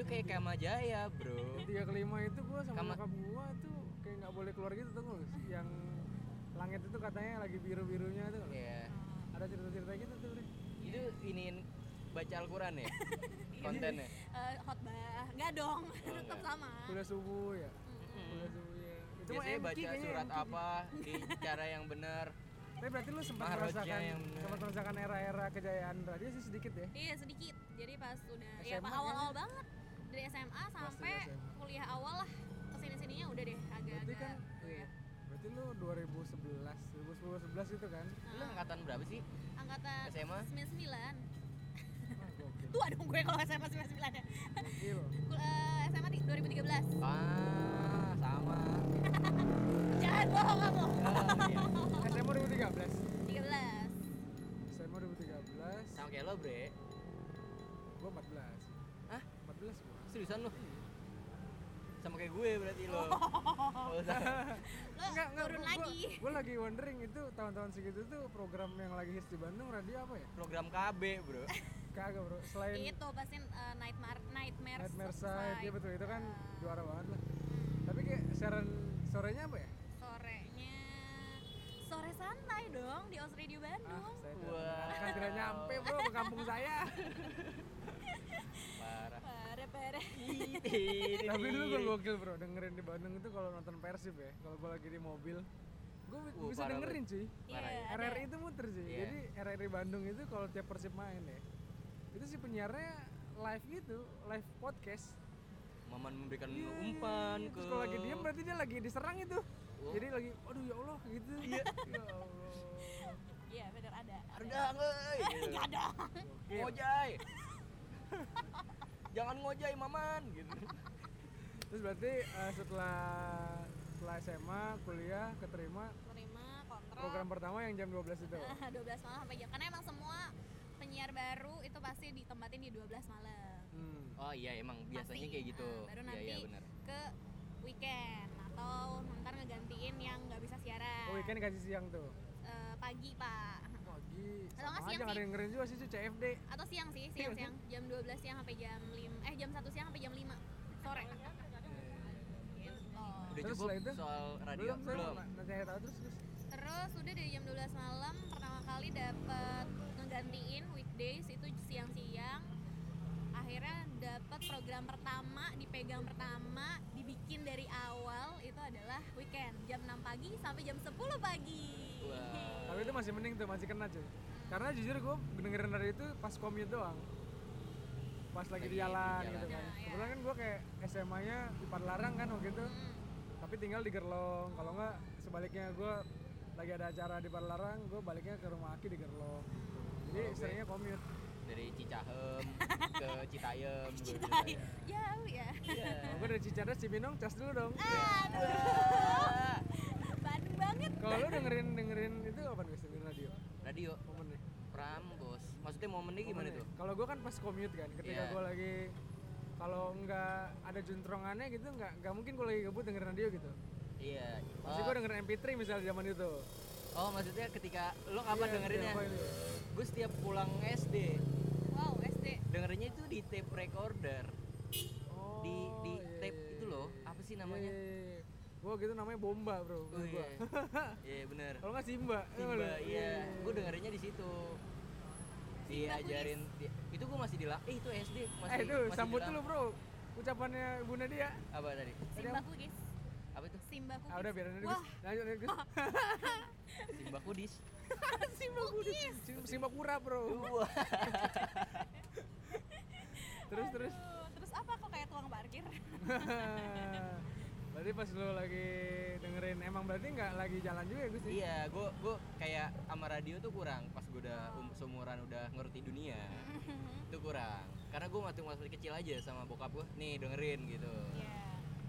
A: Itu kayak Kama Jaya, Bro.
B: tiga kelima itu gua sama
A: Kamu-
B: nyokap gua tuh kayak nggak boleh keluar gitu tuh nggak sih? yang langit itu katanya lagi biru birunya tuh
A: Iya.
B: ada cerita cerita gitu tuh Bre.
A: Itu iniin baca Al-Qur'an ya kontennya.
C: Eh, khotbah. Enggak dong. Tetap
A: enggak.
C: sama.
B: kuliah subuh ya
A: Mm-mm.
B: kuliah subuh ya
A: Hmm.
B: itu mah
A: Biasanya
B: MK
A: baca
B: kayaknya,
A: surat
B: MK.
A: apa di cara yang benar.
B: tapi berarti lu sempat
A: Maharojah
B: merasakan
A: yang bener.
B: sempat merasakan era-era kejayaan radio sih sedikit ya
C: Iya sedikit. Jadi pas udah ya
B: SMA
C: pas awal-awal banget dari SMA sampai
B: dari SMA.
C: kuliah awal lah kesini sininya udah deh
B: berarti
C: agak-agak.
B: kan iya.
C: kuliah.
B: berarti lu 2011 2010 11 itu kan
A: Lu
C: Nah,
A: angkatan berapa sih?
C: angkatan
A: SMA?
C: 99
B: Wah, Ah, gokil
C: Tua dong gue kalau SMA 99 ya
B: gokil
C: Kul- eh, SMA di 2013
A: Ah, sama.
C: Jangan bohong kamu
A: Ah, iya.
B: SMA 2013
C: 13
B: SMA 2013
A: Sama kayak lo, Bre.
B: gua 14
A: Hah?
B: 14 gua
A: Seriusan lo? Sama kayak gue berarti lo. Nggak usah.
C: Lo turun lagi
B: Gue lagi wondering itu tahun-tahun segitu tuh program yang lagi hits di Bandung radio apa ya?
A: Program KB, Bro.
B: Kagak bro, selain
C: Itu pasti eh, Nightmare Nightmare
B: Nightmare Side, ya betul itu kan
C: Ah. Hmm.
B: juara banget lah Tapi kayak siaran sorenya apa ya?
C: Sorenya Sore santai dong di Os Radio
B: Ah,
C: Bandung
B: saya
A: Wah.
B: tidak kan tidak nyampe bro ke kampung saya Ah.
A: Parah.
C: Parah-parah
B: Tapi dulu
A: Iya.
B: gue gokil bro, dengerin di Bandung itu kalau nonton Persib ya Kalau gue lagi di mobil Gue
A: Wah,
B: bisa
A: parah,
B: dengerin cuy
C: Iya,
A: Parah ya.
C: ada.
B: RRI itu muter sih.
A: Iya.
B: Jadi RRI Bandung itu kalau tiap Persib main ya. Itu si penyiarnya live gitu, live podcast.
A: Maman memberikan
B: Iya, iya,
A: umpan
B: iya.
A: Kan ke
B: Terus kalau lagi diam berarti dia lagi diserang itu.
A: Oh.
B: Jadi lagi aduh ya Allah gitu. Iya. ya Allah.
C: Iya bener ada
A: Ardang, euy. Gitu.
B: Iya.
C: Gak ada
B: Gokil.
A: Ngojay. Jangan ngojay, Maman, gitu.
B: Terus berarti eh, setelah setelah SMA, kuliah, keterima
C: Terima kontrak
B: program pertama yang jam 12 itu.
C: Ah, 12 malam sampai jam karena emang semua penyiar baru itu pasti ditempatin di 12 malam
B: Hmm.
A: Oh iya, emang biasanya
C: Pasti.
A: kayak gitu.
C: Ah, baru
A: Iya, iya
C: nanti.
A: benar.
C: ke weekend atau ntar ngegantiin yang nggak bisa siaran
B: Oh, weekend kasih siang tuh.
C: Eh, pagi pak
B: Pagi.
C: Kalau
B: Sama aja
C: nggak siang
B: nggak ada
C: sih.
B: yang dengerin juga sih itu CFD.
C: atau siang sih siang siang jam 12 siang sampai jam 5 eh jam 1 siang sampai jam 5 sore
A: Iya,
C: Gitu.
A: Udah
B: Terus
A: cukup
B: setelah itu?
A: soal radio
B: Belum, saya
A: belum.
B: mau nanya tahu terus terus.
C: terus udah dari jam 12 malam pertama kali dapat ngegantiin weekdays itu siang-siang akhirnya dapat program pertama dipegang pertama dibikin dari awal itu adalah weekend jam 6 pagi sampai jam 10 pagi
A: Wah.
B: Tapi itu masih mending tuh, masih kena cuy. Karena jujur gue dengerin dari itu pas commute doang. Pas lagi
A: Lagi
B: di
A: di
B: jalan
A: jalan.
B: gitu kan.
C: Nah, iya.
B: Kebetulan kan gue kayak SMA-nya di Padalarang kan waktu itu.
C: Hmm.
B: Tapi tinggal di Gerlong. Kalau nggak sebaliknya gue lagi ada acara di Padalarang, gue baliknya ke rumah Aki di Gerlong. Jadi
A: Kalau gue-
B: seringnya commute.
A: Dari Cicahem ke Citayam. gue bilang.
C: jauh ya
A: Iya.
B: Kalau gue dari Cicadas, Cibinong, cas dulu dong.
C: Ah.
A: Wah.
C: Bandung banget
B: Kalau lu dengerin dengerin itu apa nih? Dengerin radio.
A: Radio
B: Momennya.
A: Pram, Bos. Maksudnya momennya gimana
B: Momennya.
A: tuh?
B: Kalau gue kan pas commute kan, ketika
A: Iya.
B: gue lagi kalau nggak ada juntrongannya gitu nggak nggak mungkin gue lagi gabut dengerin radio gitu.
A: Iya.
B: Pasti gue dengerin MP3 misalnya zaman itu.
A: Oh, maksudnya ketika lo kapan
B: Iya,
A: dengerinnya?
B: apa itu?
A: Gue setiap pulang SD
C: wow SD
A: dengerinnya itu di tape recorder.
B: Oh,
A: Di di
B: iya,
A: tape
B: iya,
A: itu
B: iya,
A: loh,
B: iya.
A: apa sih
B: Iya,
A: namanya?
B: iya, iya. Gua gitu namanya bomba
A: Oh,
B: bro.
A: iya.
B: gua.
A: Iya, bener
B: Kalau nggak Simba. tau nggak lu?
A: Simba, iya. Gue dengerinnya di situ. Diajarin di- itu gue masih di la- eh itu SD masih
B: Eh itu
A: masih
B: sambut
A: di la-
B: lu bro. Ucapannya Bunda dia.
A: apa tadi
C: Simba Kugis
A: apa tuh?
C: Simba
B: Ah, udah biarin aja
C: Wah.
B: Gus. Lanjut lanjut Gus.
A: Simba Kudis.
C: Simba Kudis.
B: Sim- Simba kura, Bro.
A: Wah.
B: Terus terus.
C: Aduh, terus apa kok kayak tukang parkir?
B: berarti pas lu lagi dengerin emang berarti nggak lagi jalan juga ya Gus? ya?
A: iya, gue gue kayak sama radio tuh kurang. Pas gue udah um, seumuran udah ngerti dunia, itu kurang. Karena gue waktu masih kecil aja sama bokap gue, nih dengerin gitu.
C: Iya.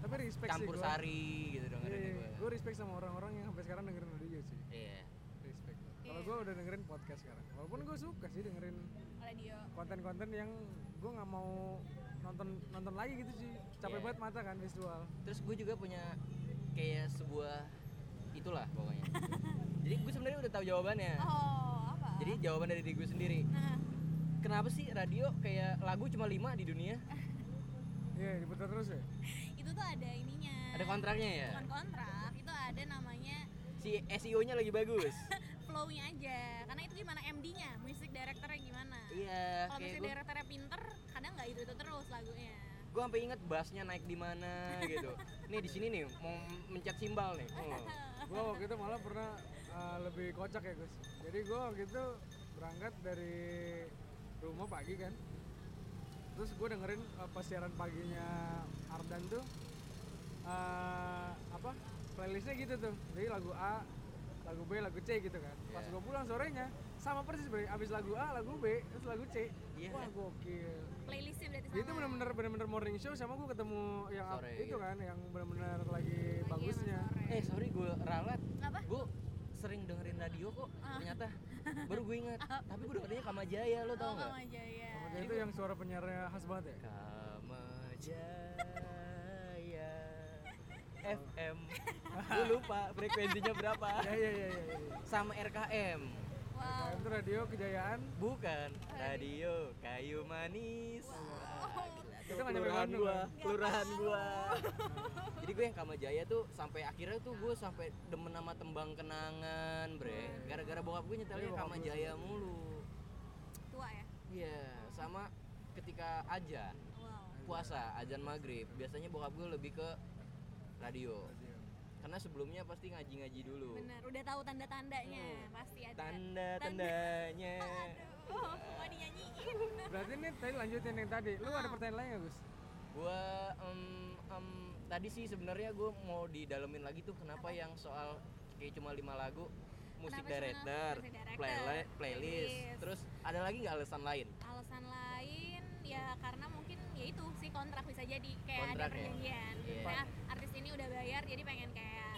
B: Tapi respect
A: Campur
B: sih
A: sari gitu dengerin
B: Gue
A: gue.
B: respect sama orang-orang yang sampai sekarang dengerin radio sih.
A: Iya.
B: Respect. Kalau
C: Iya.
B: gue udah dengerin podcast sekarang. Walaupun gue suka sih dengerin
C: Radio.
B: konten-konten yang gue nggak mau nonton nonton lagi gitu sih. Capek
A: Iya.
B: banget mata kan visual.
A: Terus gue juga punya kayak sebuah itulah pokoknya. Jadi gue sebenarnya udah tahu
B: Iya.
A: jawabannya.
C: Oh, apa?
A: Jadi jawaban dari diri gue sendiri.
C: nah,
A: Kenapa sih radio kayak lagu cuma 5 di dunia?
B: Iya, diputar terus ya.
C: itu tuh ada ininya.
A: Ada kontraknya ya?
C: Bukan kontrak, itu ada namanya
A: Si SEO-nya lagi bagus.
C: flow-nya aja. Karena itu gimana MD-nya, music director-nya gimana.
A: iya,
C: Kalau
A: kayak
C: music
A: gue
C: director-nya pinter, kadang nggak itu-itu terus lagunya.
A: gue sampai inget bassnya naik di mana gitu. Nih di sini nih mau mencet simbal nih. Oh.
B: gue waktu itu malah pernah uh, lebih kocak ya Gus jadi gue waktu itu berangkat dari rumah pagi kan terus gue dengerin uh, pas siaran paginya Ardan tuh uh, apa playlistnya gitu tuh jadi lagu A lagu B lagu C gitu kan pas
A: Iya.
B: gue pulang sorenya sama persis bre abis lagu A lagu B terus lagu C
A: Iya.
B: wah gokil
C: Playlistnya berarti sama. ya?
B: itu bener-bener bener-bener morning show sama gue ketemu yang
A: Sore,
B: itu
A: gitu.
B: kan yang bener-bener lagi
C: Pagi sama
B: bagusnya
C: sore.
A: Eh sorry gue ralat.
C: Apa?
A: Gue sering dengerin radio kok
C: Ah.
A: ternyata baru gue ingat tapi gue dengerinnya Kama Jaya lo tau
C: Oh,
A: nggak
C: Mama Jaya.
B: Dia itu yang suara penyiarnya khas banget ya?
A: Kamajaya FM Gue lupa frekuensinya berapa
B: Iya iya iya iya.
A: Sama RKM
C: Wow.
B: Nah, itu radio kejayaan.
A: Bukan Radio Kayu Manis
B: Itu nggak nyampe
A: Kelurahan
B: Bandung,
A: gua
B: kan?
A: Kelurahan gua Jadi gue yang Kamajaya tuh Sampai akhirnya tuh gue sampai demen sama tembang kenangan bre Gara-gara bokap gue nyetelnya
B: Iya, bokap lu
A: Kamajaya mulu
C: Tua ya.
A: Iya sama ketika aja
C: Wow.
A: puasa azan maghrib biasanya bokap gue lebih ke radio karena sebelumnya pasti ngaji-ngaji dulu
C: Bener, udah tahu tanda-tandanya
A: Iya.
C: pasti ada.
A: tanda tandanya
C: Aduh, mau dinyanyiin.
B: Berarti ini tadi lanjutin yang tadi. Lu ada pertanyaan lain nggak Gus?
A: gue tadi sih sebenarnya gue mau didalemin lagi tuh kenapa yang soal kayak cuma lima lagu musik
C: Kenapa cuma
A: director,
C: musik director,
A: playlist, playlist,
C: playlist.
A: terus ada lagi nggak alasan lain?
C: Alasan lain ya karena mungkin ya itu si kontrak bisa jadi kayak
A: Kontrak
C: ada
A: ya?
C: perjanjian.
A: Iya.
C: Kayak artis ini udah bayar jadi pengen kayak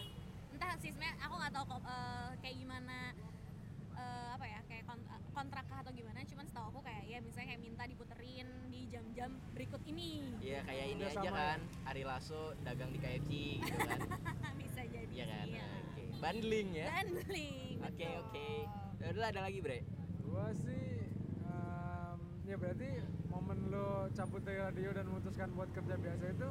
C: entah sih sebenarnya aku nggak tahu kok, eh, kayak gimana eh, apa ya kayak kon- eh, kontrak kah atau gimana cuman setahu aku kayak ya misalnya kayak minta diputerin di jam-jam berikut ini
A: Iya kayak ini
B: Udah
A: aja
B: sama
A: kan, Ari Lasso dagang di KFC gitu kan,
C: bisa jadi
A: iya kan?
C: iya.
A: Oke. Bundling ya?
C: Bundling,
A: Oke
C: betul.
A: oke. Ya Udah ada lagi bre?
B: Gua sih em, ya berarti momen lu cabut dari radio dan memutuskan buat kerja biasa itu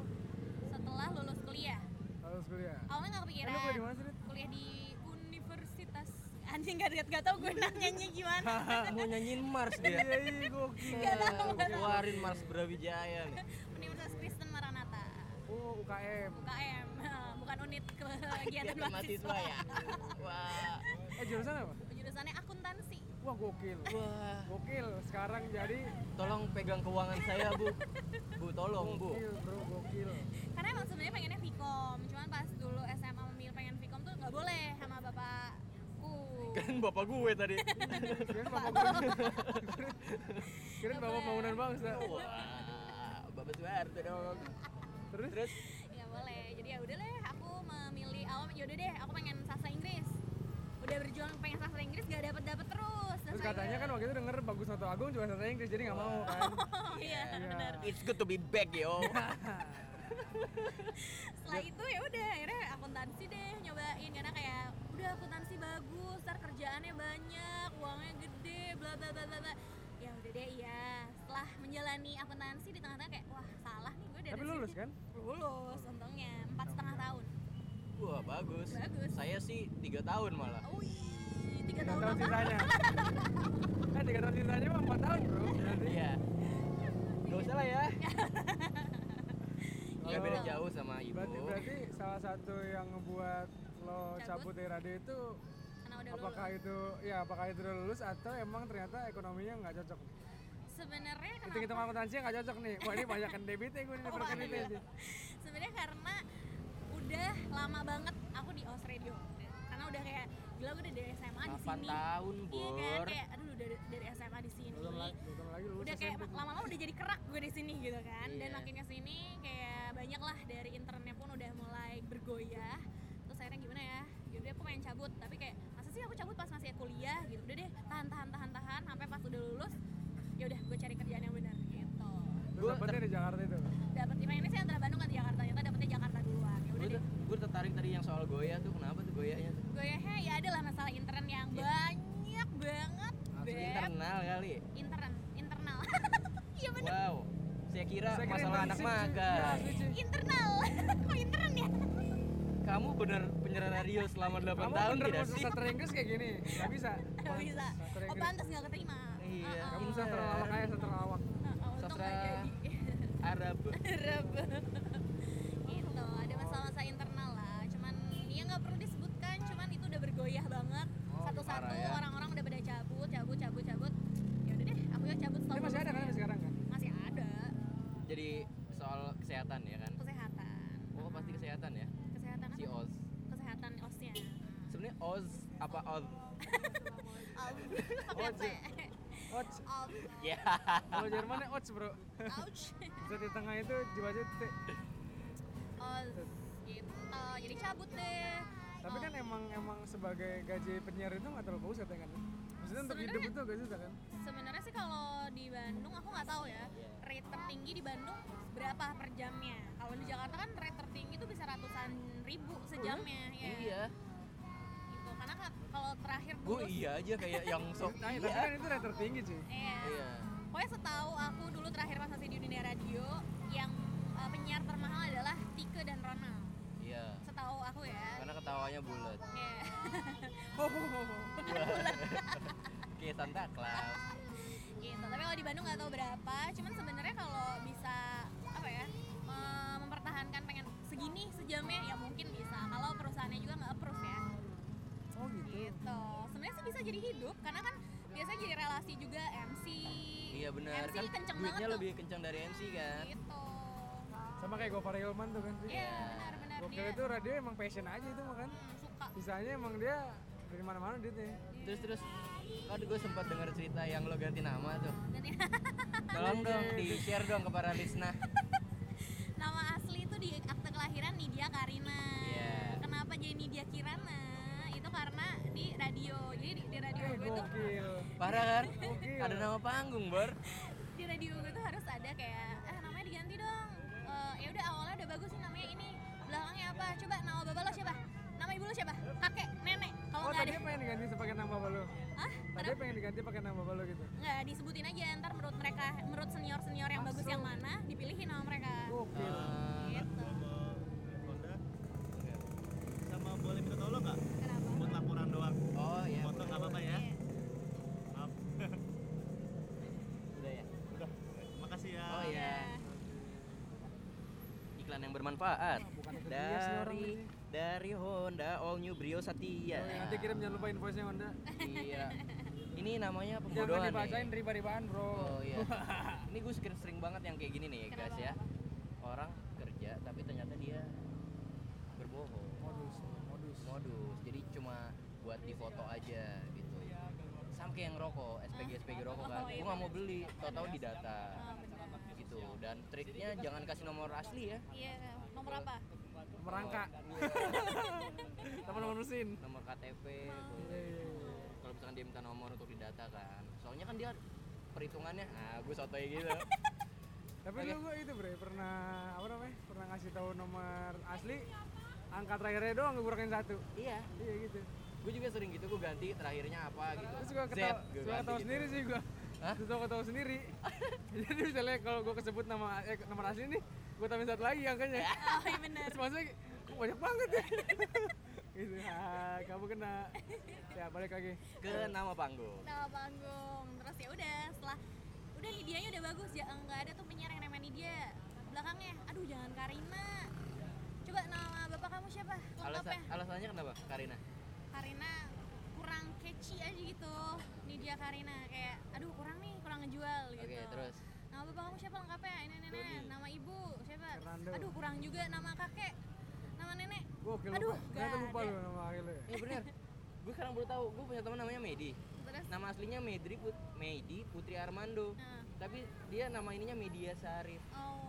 C: setelah lulus kuliah
B: harus kuliah.
C: awalnya nggak
B: Eh,
C: kepikiran
B: lu kuliah di mana sih? Dit?
C: kuliah di universitas anjing gak, gak, gak tau gue nanyanya gimana
A: mau nyanyiin Mars gitu. dia.
B: Iya iya gokil.
A: Keluarin Mars Brawijaya nih.
C: Universitas Kristen Maranatha
B: Oh UKM.
C: UKM bukan unit kegiatan
A: Kegiatan mahasiswa
C: mahasiswa
A: ya. Wah.
B: Eh jurusan apa?
C: jurusannya akuntansi
B: Wah gokil.
A: Wah.
B: Gokil. Sekarang jadi
A: Tolong pegang keuangan saya, Bu. Bu tolong, Bu.
B: gokil bro gokil.
C: karena emang sebenarnya pengennya Vkom cuman pas dulu SMA memilih pengen Vkom tuh nggak boleh sama bapakku
A: Kan bapak gue tadi.
B: Kirain bapak kirain bapak bangunan bangsa.
A: Wah. Bapak Soeharto dong.
B: Terus
A: Terus
C: nggak boleh jadi ya udah deh aku memilih awal yaudah deh aku pengen sastra Inggris udah berjuang pengen sastra Inggris gak dapet dapet terus
B: Terus
C: sastra
B: katanya kan waktu itu denger bagus atau agung juga sastra Inggris jadi nggak mau kan.
C: Inggris.
B: Iya.
C: iya benar
A: it's good to be back, yo.
C: setelah
B: Iya.
C: itu ya udah akhirnya akuntansi deh nyobain karena kayak udah akuntansi bagus ntar kerjaannya banyak uangnya gede bla bla bla bla bla ya udah deh iya setelah menjalani akuntansi di tengah-tengah kayak wah salah nih gue dari
B: Tapi lulus kan?
C: lulus untungnya empat setengah tahun
A: Wah, bagus.
C: Bagus.
A: Saya sih tiga tahun malah.
C: Oh, wih tiga
B: Tiga
C: tahun
B: tahun
C: apa
B: sisanya. Eh tiga tahun sisanya mah
C: Oh.
B: empat tahun bro. Berarti
A: Iya. Gak usah lah ya. nggak beda
C: Gitu.
A: jauh sama ibu
B: Berarti berarti salah satu yang ngebuat lo
C: Cabut.
B: cabut dari radio itu
C: karena udah lulus
B: apakah itu ya apakah itu udah lulus atau emang ternyata ekonominya nggak cocok?
C: sebenarnya
B: Hitung hitung
C: kenapa
B: akuntansinya nggak cocok nih. Wah ini banyak debitnya gue ini
C: Wah,
B: berkreditnya
C: iya.
B: sih.
C: sebenarnya karena udah lama banget aku di os radio karena udah kayak gila gue udah dari SMA di
A: 8
C: sini
A: tahun
C: iya kan
A: bor
C: kayak aduh udah dari SMA di sini
B: Belum lagi, belum lagi lulus
C: udah kayak
B: SMP.
C: lama-lama udah jadi kerak gue di sini gitu kan dan
A: Iya.
C: makin kesini kayak banyak lah dari internetnya pun udah mulai bergoyah terus akhirnya gimana ya yaudah aku pengen cabut tapi kayak masa sih aku cabut pas masih kuliah gitu udah deh tahan tahan tahan tahan sampai pas udah lulus ya udah gue cari kerjaan yang benar gitu
B: Terus
A: Gua
B: dapetnya di Jakarta itu.
C: dapat di ini saya antara Bandung ke Jakarta ternyata dapetnya Jakarta duluan ya udah
A: gue
C: deh
A: gue tertarik tadi yang soal goya tuh kenapa tuh goyanya tuh?
C: goyahnya ya adalah masalah intern yang
A: Iya.
C: banyak banget
A: Langsung
C: Beb.
A: internal kali
C: intern internal iya bener
A: wow saya kira
B: Saya kira
A: masalah
B: tadi
A: anak
B: sih, ya,
A: magang
B: asli sih.
C: internal kok intern ya
A: kamu bener penyiar radio selama 8
B: Kamu
A: tahun
B: bener
A: tidak
B: mau
A: sih
B: sastra Inggris kayak gini? Gak bisa.
C: Gak bisa.
B: Sastra
C: Oh
B: Inggris.
C: pantas gak keterima.
A: Iya.
C: Uh-uh.
B: gitu. Kamu sastra lawak aja, sastra lawak.
C: Uh-uh, Untung
A: sastra
C: gak jadi.
A: Arab
C: Arab. gitu. Ada masalah-masalah internal lah. Cuman ya nggak perlu disebutkan. Cuman itu udah bergoyah banget.
A: Oh,
C: Satu-satu
A: parah ya.
C: orang-orang udah pada cabut, cabut, cabut, cabut. Ya udah deh, aku yang cabut.
B: Ini
C: setahun
B: masih ada kan
C: lulus.
B: sampai sekarang kan?
C: Masih ada.
A: jadi soal kesehatan ya kan
C: Kesehatan.
A: oh pasti kesehatan ya
C: Kesehatan
A: si
C: apa?
A: Oz
C: Kesehatan osnya.
A: sebenarnya Oz apa Oz
C: Aus. Pakai
B: Oz.
C: apa? ya?
B: Ouch.
C: Aus.
A: ya
B: Kalau Jermannya ouch bro.
C: Ouch.
B: Bisa di tengah itu jiwanya titik.
C: Aus. Gitu. Jadi cabut deh.
B: Tapi kan emang emang sebagai gaji penyiar itu nggak terlalu bagus katanya kan? Maksudnya untuk hidup
C: Sebenarnya-
B: itu gak susah kan?
C: Sebenarnya sih kalau di Bandung aku nggak tahu ya rate tertinggi di Bandung berapa per jamnya. Kalau di Jakarta kan rate tertinggi tuh bisa ratusan ribu sejamnya ya.
A: iya
C: Gitu. Karena ka- kalau terakhir
A: gue
C: dulu
A: iya aja kayak yang sok
B: Nah, tapi
A: iya
B: kan itu rate tertinggi sih.
C: Iya.
A: iya
C: Pokoknya setahu aku dulu terakhir pas masih di dunia radio yang eh, penyiar termahal adalah Tike dan Ronald.
A: iya
C: Setahu aku ya.
A: karena ketawanya bulat
C: Iya.
B: Oh, oh, oh, oh.
A: kayak Santa Claus
C: gitu tapi kalau di Bandung nggak tahu berapa cuman sebenarnya kalau bisa apa ya me- mempertahankan pengen segini sejamnya ya mungkin bisa kalau perusahaannya juga nggak approve ya
B: Oh, gitu.
C: gitu sebenarnya sih bisa jadi hidup karena kan biasanya jadi relasi juga MC
A: iya benar
C: MC
A: kan
C: kenceng
A: duitnya
C: banget
A: lebih kencang dari MC
C: tuh
A: kan
C: gitu
B: Sama kayak Gopar Hilman tuh kan?
C: iya benar-benar
B: Gokil
C: dia
B: itu radio emang passion aja itu mah kan?
C: hmm, suka
B: Sisanya emang dia dari mana-mana
C: Iya,
B: duitnya.
A: terus terus kan gue sempat dengar cerita yang lo ganti nama tuh
C: Ganti
A: tolong
B: Iya.
A: dong di share dong ke para listener
C: nama asli itu di akte kelahiran Nidia Karina
A: Iya.
C: kenapa jadi Nidia Kirana itu karena di radio jadi di, di radio
B: Eh,
C: gue tuh
B: gokil.
A: parah kan
B: Gokil.
A: ada nama panggung bor
C: di radio gue tuh harus ada kayak eh namanya diganti dong Eh, ya udah awalnya udah bagus sih namanya ini belakangnya apa coba nama bapak lo siapa nama ibu lo siapa kakek nenek kalau
B: Oh,
C: nggak ada
B: tadinya pengen diganti pakai nama bapak lu.
C: ah
B: Tadinya pengen diganti pakai nama bapak lu gitu.
C: nggak disebutin aja ntar menurut mereka menurut senior senior yang bagus yang mana dipilihin nama mereka
B: Gokil.
A: Eh,
C: gitu
D: Honda sama boleh minta tolong nggak
C: kenapa
D: buat laporan doang
A: oh iya
D: foto nggak apa-apa ya
C: Iya.
D: maaf
A: udah ya
D: udah makasih
B: Ah,
D: ya
A: oh iya iklan yang bermanfaat
B: Ah, Bukan ikut dia sih orang
A: dari
B: ini.
A: dari Honda All New Brio Satya
B: Oh, iya, Nanti kirim jangan lupa invoice-nya Honda.
A: iya ini namanya
B: Jangan
A: pembodohan ya.
B: dibacain
A: nih
B: riba-ribaan, Bro.
A: Oh iya. Ini gue sering sering banget yang kayak gini nih ya, guys ya. Orang kerja tapi ternyata dia berbohong.
B: Modus, modus.
A: Modus. Jadi cuma buat difoto aja gitu. Sama kayak yang rokok, SPG SPG rokok kan.
C: Oh, iya
A: Gue nggak mau beli, tahu-tahu di data
C: Ah, benar.
A: gitu. Dan triknya jangan kasih nomor asli ya.
C: iya nomor apa
B: Merangkak. Teman-teman mesin.
A: Iya. Nomor KTP. boleh. gitu.
B: Iya.
A: Kalau misalkan dia minta nomor untuk di data kan. Soalnya kan dia perhitungannya, ah gue sotoy gitu.
B: Tapi lu gua itu bre pernah apa namanya? Pernah ngasih tahu nomor asli angka terakhirnya doang gue kurangin satu.
A: iya,
B: Iya gitu.
A: gue juga sering gitu gue ganti terakhirnya apa gitu
B: Terus gua
A: Z,
B: ketawa,
A: gua
B: suka
A: ganti
B: ketawa
A: gitu.
B: sendiri sih gua.
A: Hah?
B: Suka ketawa sendiri. Jadi misalnya kalau gua kesebut nama eh, nomor asli nih, gua tambahin satu lagi angkanya.
C: oh iya benar
B: Terus maksudnya kok banyak banget ya. gitu. Ah, kamu kena. Ya balik lagi.
A: ke nama panggung
C: nama panggung terus ya udah setelah udah Nidianya udah bagus ya nggak ada tuh penyiar yang namanya Nidia belakangnya aduh jangan Karina coba nama bapak kamu siapa
A: Alasan,
C: lengkapnya
A: alasannya kenapa Karina?
C: Karina kurang catchy aja gitu nih dia Karina kayak aduh kurang nih kurang ngejual
A: Oke
C: gitu
A: terus
C: nama bapak kamu siapa lengkapnya ini nenek
D: Doni.
C: nama ibu siapa
B: Fernando.
C: aduh kurang juga nama kakek nama nenek
B: Gokil
C: Aduh,
B: lupa. Ternyata
C: nggak
B: lupa
C: ada.
B: lu nama akhirnya.
A: Iya bener Gue sekarang baru tahu Gue punya teman namanya Medi
C: terus
A: Nama aslinya Medri Put Medi Putri Armando
C: nah,
A: Tapi dia nama ininya Media Sarif
C: oh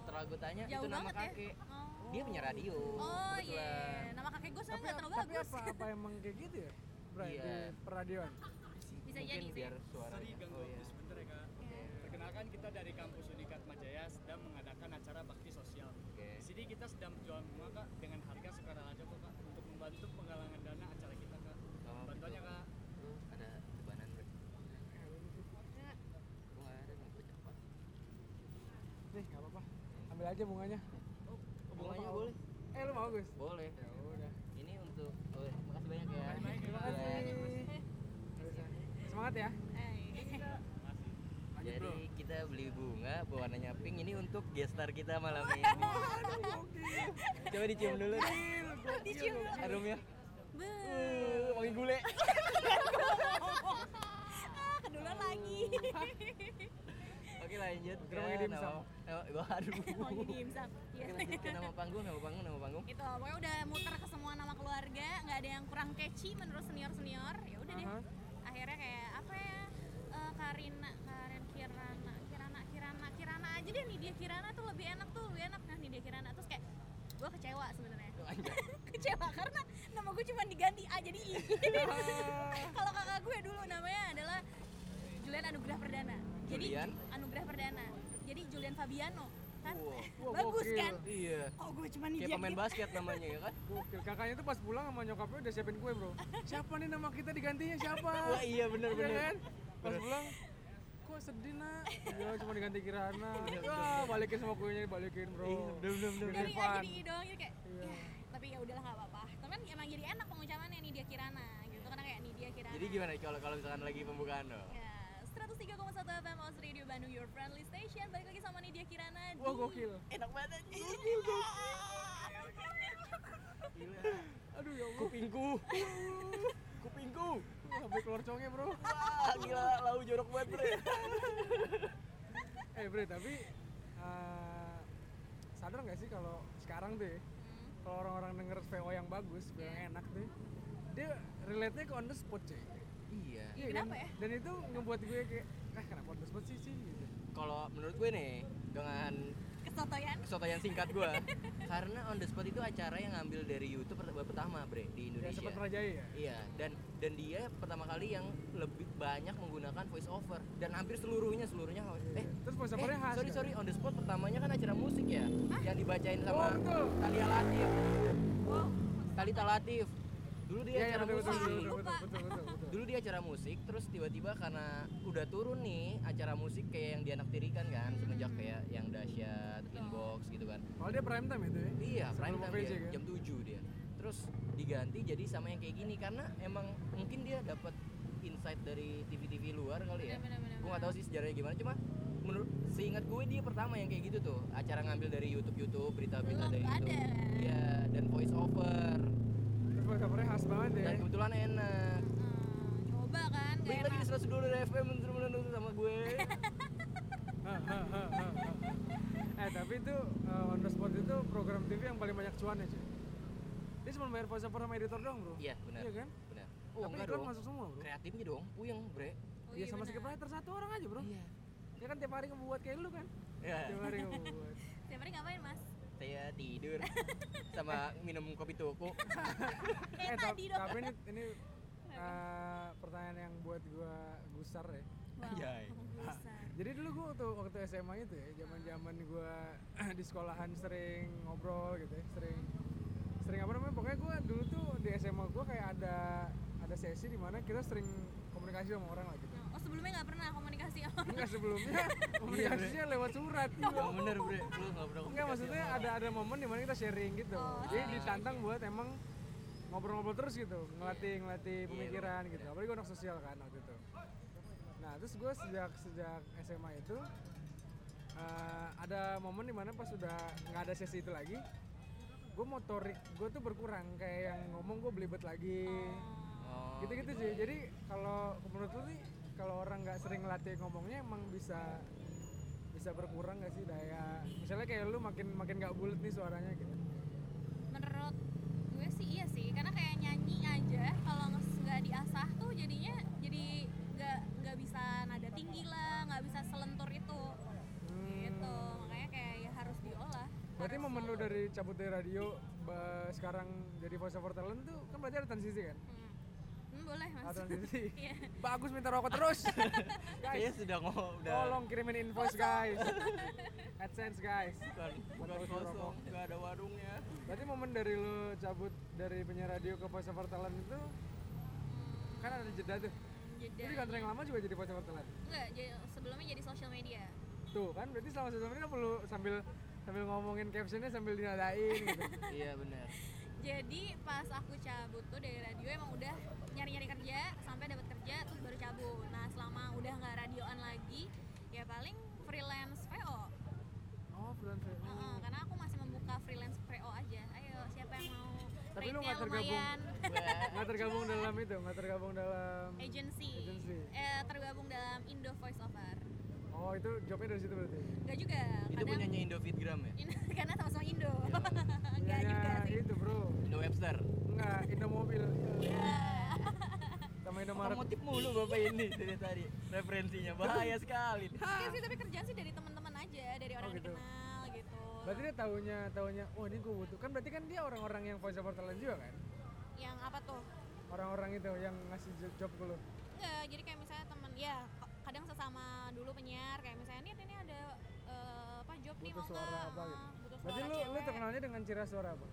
A: Setelah gue tanya
C: jauh
A: itu nama
C: banget
A: kakek
C: ya oh.
A: Dia punya radio
C: Oh iya,
A: kebetulan.
C: nama kakek gue soalnya
B: Tapi,
C: nggak terlalu
B: tapi
C: bagus.
B: apa apa emang kayak gitu ya? Bray,
A: Iya.
B: di peradilan.
C: Bisa
A: Mungkin
C: jadi sih.
A: biar suaranya
D: Sorry ganggu
A: Oh,
D: waktu
A: iya.
D: sebentar ya kak.
C: Iya.
D: Perkenalkan kita dari kampus Unikat Majaya sedang mengadakan acara bakti sosial.
A: Oke.
D: Di sini kita sedang jual bunga kak dengan harga sekarang aja kok kak untuk membantu penggalangan dana acara kita kak.
A: Sama
D: Bantuannya
A: gitu.
D: kak.
A: Lu ada tebanan bre Gue gak ada gue cepat
B: Nih, enggak apa-apa. Ambil aja bunganya.
D: ya,
A: Bunganya
B: mau.
A: Oh, boleh
B: Eh, lu mau, Gus?
A: Boleh
B: Ya udah.
A: Ini untuk oh, iya. Makasih banyak ya
B: Terima
A: Iya.
B: kasih. Semangat ya.
C: Eh,
A: Jadi kita beli bunga warnanya pink ini untuk gestar kita malam ini. Coba dicium dulu. deh.
C: Dicium dulu.
A: Harumnya.
C: Be.
A: Uh, wangi gule.
C: Ah, keduluan lagi.
A: Oke lanjut.
B: Kira wangi
A: ke
B: dimsum.
A: nama- nama- Wah, aduh.
C: Wangi
A: Oh,
C: dimsum. Iya.
A: Oke lanjut ke nama panggung, nama panggung, nama panggung.
C: Itu gitu. pokoknya udah muter ke semua nama keluarga, nggak ada yang kurang catchy menurut senior-senior. Ya udah deh.
B: Aha.
A: Uh-huh.
C: Akhirnya kayak apa ya? eh, Karina, Karin Kirana, Kirana, Kirana, Kirana aja deh nih dia Kirana tuh lebih enak tuh, lebih enak nah nih dia Kirana terus kayak gue kecewa sebenarnya
A: Tuh, anjay.
C: kecewa karena nama gue cuma diganti A jadi I.
A: Ah.
C: Kalau kakak gue dulu namanya adalah Julian Anugrah Perdana. Jadi
A: Julian?
C: Anugrah Perdana. Jadi Julian Fabiano kan
A: Wow.
B: Wah,
C: bagus
B: gokil.
C: kan?
A: Iya.
C: Oh gue cuma
A: Kayak
C: dia
A: pemain basket namanya ya kan?
B: Gokil. Kakaknya tuh pas pulang sama nyokapnya udah siapin kue, Bro. Siapa nih nama kita digantinya siapa?
A: Wah, iya benar
B: Iya
A: benar.
B: kan? Pas pulang kok sedih nak ya cuma diganti kirana Wah, balikin sama kuenya balikin bro
A: Iya, bener, bener, bener.
B: Bener,
C: dari A
B: Van.
C: jadi I doang jadi kayak
B: Iya.
C: ya tapi ya udahlah nggak apa-apa. Tapi kan emang jadi enak pengucapannya nih dia Kirana gitu karena kayak nih dia Kirana.
A: Jadi gimana kalau kalau misalkan lagi pembukaan dong?
C: Ya, 103,1 FM Os Radio Bandung Your Friendly Station balik lagi sama Nidia Kirana
B: wah
C: di- Ah!
B: gokil
A: Enak banget anjing. Gila.
B: aduh ya allah
A: Kupingku. Kupingku.
B: sampai keluar congnya bro
A: Wah, Ah, gila lau jorok banget, Bre.
B: eh bre tapi eh, sadar nggak sih kalau sekarang tuh ya,
C: Hmm.
B: kalau orang-orang denger VO yang bagus
A: Iya.
B: VO yang enak tuh dia relate nya ke on the spot cuy
A: Iya.
B: Iya
C: Kenapa
B: kan?
C: ya?
B: dan itu ngebuat gue kayak ah kenapa on the spot sih sih gitu
A: kalau menurut gue nih dengan
C: Kesotoyan.
A: kesotoyan singkat gue karena on the spot itu acara yang ngambil dari YouTube per- pertama bre di
B: ya
A: Indonesia
B: sempat merajai ya
A: iya dan dan dia pertama kali yang lebih banyak menggunakan voice over dan hampir seluruhnya seluruhnya eh
B: terus pas
A: Eh,
B: sampai khas
A: sorry
B: kan?
A: sorry on the spot pertamanya kan acara musik ya yang dibacain sama
B: Oh, betul.
A: Talia Latif Talita Latif dulu dia
B: Iya, iya,
A: acara
B: betul, betul,
A: musik
B: betul, betul, betul, betul, betul, betul.
A: dulu dia acara musik terus tiba-tiba karena udah turun nih acara musik kayak yang dinaktirikan kan semenjak kayak yang dahsyat inbox gitu kan
B: Kalau dia prime time itu ya.
A: iya prime time
B: Sebelum OVJ
A: dia,
B: kan?
A: jam 7 dia terus diganti jadi sama yang kayak gini karena emang mungkin dia dapat insight dari TV-TV luar kali ya
C: Bener, bener, bener,
A: gue gak tahu sih sejarahnya gimana cuma menurut seingat gue dia pertama yang kayak gitu tuh acara ngambil dari YouTube YouTube berita-berita
C: Belum
A: dari
C: ada,
A: YouTube
C: kan?
A: iya dan voice over
B: Terus pas sampai khas banget ya.
A: dan kebetulan enak
C: Hmm, Coba kan nggak
A: Baik lagi
C: enak.
A: di 102 FM menurut menurut sama gue
B: Ha, ha, ha, ha, ha. eh tapi itu eh, on the spot itu program TV yang paling banyak cuannya cuy. Dia cuma bayar voice over sama editor doang bro.
A: Iya benar.
B: Iya kan?
A: Benar. Oh
B: tapi
A: enggak
B: iklan
A: dong.
B: masuk semua bro.
A: Kreatifnya gitu dong, puyeng bre.
C: Oh,
B: Iya sama
C: bener.
B: script writer satu orang aja bro.
A: Iya.
B: Dia kan tiap hari ngebuat kayak lu kan.
A: Ya.
B: Tiap hari
C: Iya.
B: ngebuat.
C: Tiap hari ngapain mas?
A: Saya tidur sama minum kopi tuku.
C: Kayak
B: eh ta-
C: tadi dong.
B: tapi ini ini eh, pertanyaan yang buat gua gusar ya.
C: Wow,
A: Anjay.
C: besar.
B: Jadi dulu gue waktu waktu SMA itu ya, zaman-zaman gue di sekolahan sering ngobrol gitu ya, sering sering apa namanya? Pokoknya gue dulu tuh di SMA gue kayak ada ada sesi di mana kita sering komunikasi sama orang lah gitu.
C: Oh sebelumnya nggak pernah komunikasi sama orang.
B: Enggak sebelumnya komunikasinya lewat surat.
A: Enggak bener bre. Lu enggak pernah
B: Enggak maksudnya ada ada momen di mana kita sharing gitu.
C: Oh,
B: Jadi
C: sharing.
B: ditantang buat emang ngobrol-ngobrol terus gitu, ngelatih ngelatih pemikiran gitu. Apalagi gue anak sosial kan waktu itu. Nah terus gue sejak sejak SMA itu eh, ada momen dimana pas sudah nggak ada sesi itu lagi gue motorik gue tuh berkurang kayak yang ngomong gue belibet lagi
A: Oh,
B: gitu-gitu sih jadi kalau menurut lu nih kalau orang nggak sering latih ngomongnya emang bisa bisa berkurang nggak sih daya misalnya kayak lu makin makin nggak bulat nih suaranya gitu
C: menurut gue sih iya sih karena kayak nyanyi aja kalau nges- nggak diasah tuh jadinya jadi nggak nggak bisa nada tinggi lah nggak bisa selentur itu
B: Hmm.
C: gitu makanya kayak ya harus diolah
B: berarti
C: Harus
B: momen lu
C: diolah.
B: dari cabut dari radio ba- sekarang jadi voice over talent tuh kan berarti ada transisi kan
C: hmm. Hmm, boleh mas
B: ada transisi
C: Iya.
B: bagus minta rokok terus
A: Kayaknya
B: guys
A: Iya, sudah ngomong udah
B: tolong kirimin invoice guys adsense guys
A: bukan bukan
B: Terus
A: kosong
B: merokok.
A: nggak ada warungnya
B: berarti momen dari lu cabut dari penyiar radio ke voice over talent itu kan ada jeda tuh
C: jeda
B: Jadi kan- kantor yang lama juga jadi voice over talent.
C: enggak jadi sebelumnya jadi social media
B: Tuh kan berarti selama satu menit perlu sambil sambil ngomongin captionnya sambil dinadain gitu.
A: iya benar
C: jadi pas aku cabut tuh dari radio emang udah nyari-nyari kerja sampai dapat kerja terus baru cabut nah selama udah nggak radioan lagi ya paling freelance VO
B: Oh, bulan Februari.
C: Heeh, karena aku masih membuka freelance VO aja ayo siapa yang mau
B: Tapi lu
C: Rate-nya
B: nggak tergabung.
C: lumayan
B: Nggak tergabung dalam itu, nggak tergabung dalam
C: agency
B: Agency.
C: eh, tergabung dalam Indo Voiceover
B: Oh, itu jobnya dari situ berarti.
C: Enggak juga
A: itu
C: kadang
A: punyanya Indofitgram ya
C: karena sama-sama Indo enggak
B: Iya,
C: juga sih
B: itu, Bro.
A: Indo Webster
B: Enggak, Indomobil. Sama Indomaret.
A: otomotif mulu bapak ini dari tadi referensinya bahaya sekali
C: Iya sih tapi kerjaan sih dari teman-teman aja dari orang
B: gitu.
C: yang dikenal gitu
B: Berarti dia taunya, taunya, oh ini gue butuh. Kan berarti kan dia orang-orang yang voice over talent juga kan?
C: yang apa tuh
B: Orang-orang itu yang ngasih job, job ke lu.
C: Enggak, jadi kayak misalnya temen ya ko- kadang sesama dulu penyiar kayak misalnya nih ini ada eh, apa job nih
B: Butuh
C: mau
B: suara
C: nggak
B: apa
C: Eh,
B: gitu.
C: butuh
B: Berarti
C: suara
B: lu, lu
C: cewek.
B: terkenalnya dengan ciri suara apa?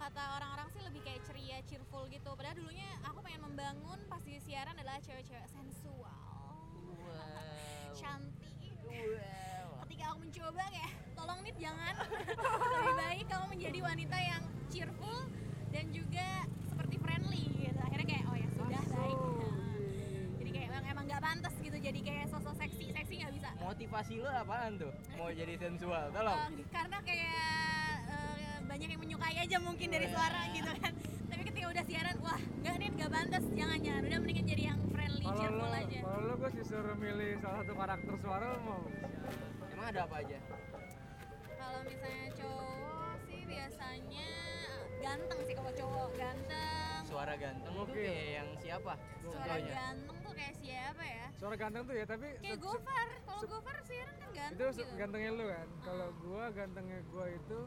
C: kata orang-orang sih lebih kayak ceria cheerful gitu padahal dulunya aku pengen membangun pas di siaran adalah cewek-cewek sensual
A: wow
C: cantik
A: wow
C: ketika aku mencoba kayak tolong nih jangan lebih baik kamu menjadi wanita yang cheerful dan juga seperti friendly gitu akhirnya kayak oh ya sudah baik jadi kayak emang emang nggak pantas gitu jadi kayak sosok seksi seksi nggak bisa
A: motivasi lo apaan tuh mau jadi sensual
C: Eh,
A: tolong
C: karena kayak eh, banyak yang menyukai aja mungkin dari
B: Iya.
C: suara gitu kan tapi ketika udah siaran wah nggak nih nggak pantas jangan jangan udah mendingan jadi yang friendly
B: Kalau lu,
C: cheerful aja
B: kalau lu gue disuruh milih salah satu karakter suara lu mau.
A: emang ada apa aja
C: kalau misalnya cowok sih biasanya ganteng sih kalau cowok ganteng
A: suara ganteng tuh
B: Gokil.
A: kayak yang siapa
C: suara
A: contohnya
C: ganteng tuh kayak siapa ya
B: Suara ganteng tuh ya, tapi
C: kayak
B: ya? se- se-
C: Gofar kalau Gofar siaran kan
B: itu
C: ganteng
B: se-
C: gitu
B: gantengnya lu kan. Kalau gua gantengnya gua itu